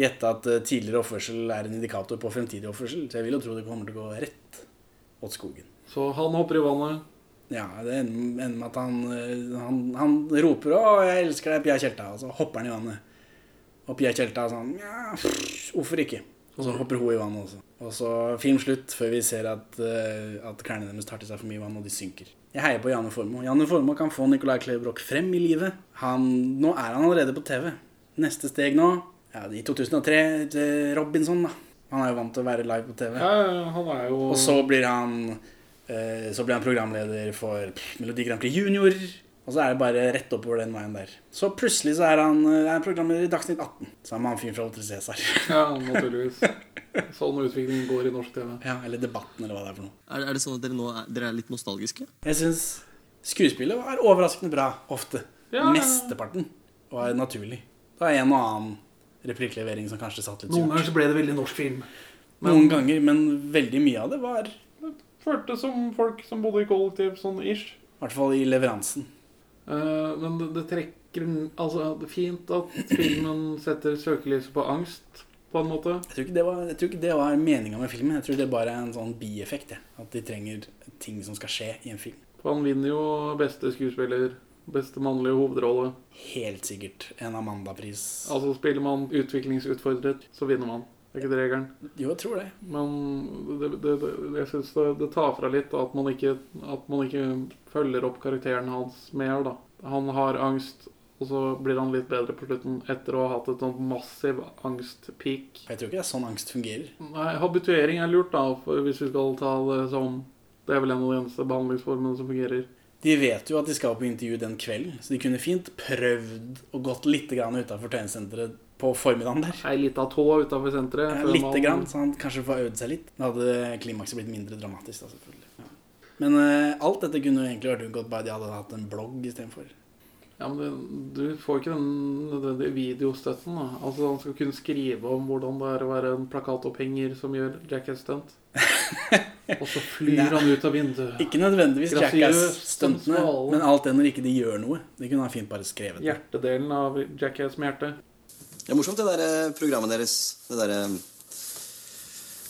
gjette at eh, tidligere oppførsel er en indikator på fremtidig oppførsel. Så jeg vil jo tro det kommer til å gå rett åt skogen.
Så han hopper i vannet.
Ja, det ender ender med at han, eh, han, han roper 'Å, jeg elsker deg, Pia Tjelta', og så hopper han i vannet. Og Pia Tjelta er sånn ja, pff, 'Hvorfor ikke?' Og så hopper hun i vannet også. Og så film slutt før vi ser at, eh, at klærne deres tar til seg for mye vann, og de synker. Jeg heier på Janne Formoe. Janne Formoe kan få Nicolai Kleve Broch frem i livet. Han, nå er han allerede på TV. Neste steg nå ja, I 2003 eh, Robinson, da. Han er jo vant til å være live på TV.
Ja, han er jo
Og så blir han eh, Så blir han programleder for pff, Melodi Grand Prix Junior. Og så er det bare rett oppover den veien der. Så plutselig så er han eh, er programleder i Dagsnytt 18. Sammen med han fyren fra Hotel Cæsar.
Ja, naturligvis. Sånn utviklingen går i norsk TV.
Ja, eller Debatten, eller hva det er for noe.
Er, er det sånn at dere nå er, dere er litt nostalgiske?
Jeg syns skuespillet var overraskende bra ofte.
Ja.
Mesteparten var naturlig. Det var en og annen replikklevering som kanskje satt litt
Noen
surt.
ganger så ble det veldig norsk film.
Noen ganger, men veldig mye av det var I
Føltes som folk som bodde i kollektiv, sånn ish.
hvert fall i leveransen.
Eh, men det, det trekker Altså, det er fint at filmen setter søkelyset på angst, på en måte.
Jeg tror ikke det var, jeg tror ikke det var meninga med filmen. Jeg tror det bare er en sånn bieffekt. jeg. At de trenger ting som skal skje i en film.
For han vinner jo beste skuespiller, beste mannlige hovedrolle.
Helt sikkert en Amanda-pris.
Altså spiller man utviklingsutfordret, så vinner man. Det er ikke det regelen.
Jo, jeg tror det.
Men det, det, det, jeg syns det, det tar fra litt at man, ikke, at man ikke følger opp karakteren hans mer, da. Han har angst, og så blir han litt bedre på slutten etter å ha hatt et sånt massiv angstpeak.
Jeg tror ikke det er sånn angst fungerer.
Nei, habituering er lurt, da, for hvis vi skal ta det som Det er vel en av de eneste behandlingsformene som fungerer.
De vet jo at de skal på intervju den kvelden, så de kunne fint prøvd å gått litt utafor treningssenteret på formiddagen der.
Ei lita tå utafor senteret.
Ja,
før
lite
man-
grann, så han kanskje får øvd seg litt. Da hadde klimakset blitt mindre dramatisk, da, selvfølgelig. Ja. Men eh, alt dette kunne jo egentlig vært unngått bare de hadde hatt en blogg istedenfor.
Ja, men det, du får ikke den nødvendige videostøtten. da. Altså, Han skal kunne skrive om hvordan det er å være en plakatopphenger som gjør Jackass stunt. Og så flyr
Nei.
han ut av vinduet.
Ikke nødvendigvis
Grasiøst,
Jackass-stuntene,
sensual.
men alt det når ikke de gjør noe. Det kunne han fint bare skrevet. ned.
Hjertedelen av Jackass med hjerte.
Det er morsomt, det der eh, programmet deres. Det der eh,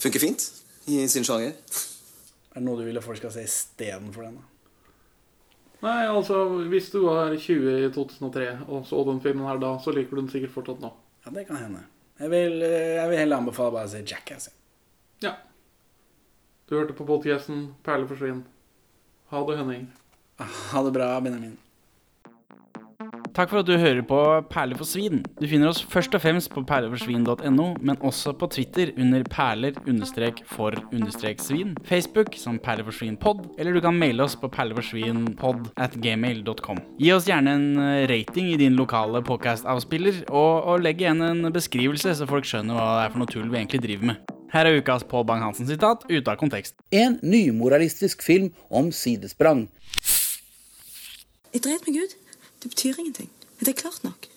funker fint i sin sjanger.
Er det noe du vil at folk skal se istedenfor den? da?
Nei, altså, hvis du var 20 i 2003 og så den filmen her da, så liker du den sikkert fortsatt nå.
Ja, det kan hende. Jeg vil, eh, jeg vil heller anbefale bare å se Jackass. jeg.
Ja. Du hørte på podcasten Perle forsvinn. Ha det, Henning.
Ha det bra, Benjamin. Takk for at du hører på Perler for svin. Du finner oss først og fremst på perleforsvin.no, men også på Twitter under perler-for-svin, Facebook som perleforsvinpod, eller du kan maile oss på perleforsvinpod at gmail.com. Gi oss gjerne en eh, rating i din lokale podcast-avspiller, og, og legg igjen en beskrivelse, så folk skjønner hva det er for noe tull vi egentlig driver med. Her er ukas Pål Bang-Hansen-sitat ute av kontekst.
En nymoralistisk film om sidesprang.
Jeg dreit meg ut. Det betyr ingenting. Det er klart nok.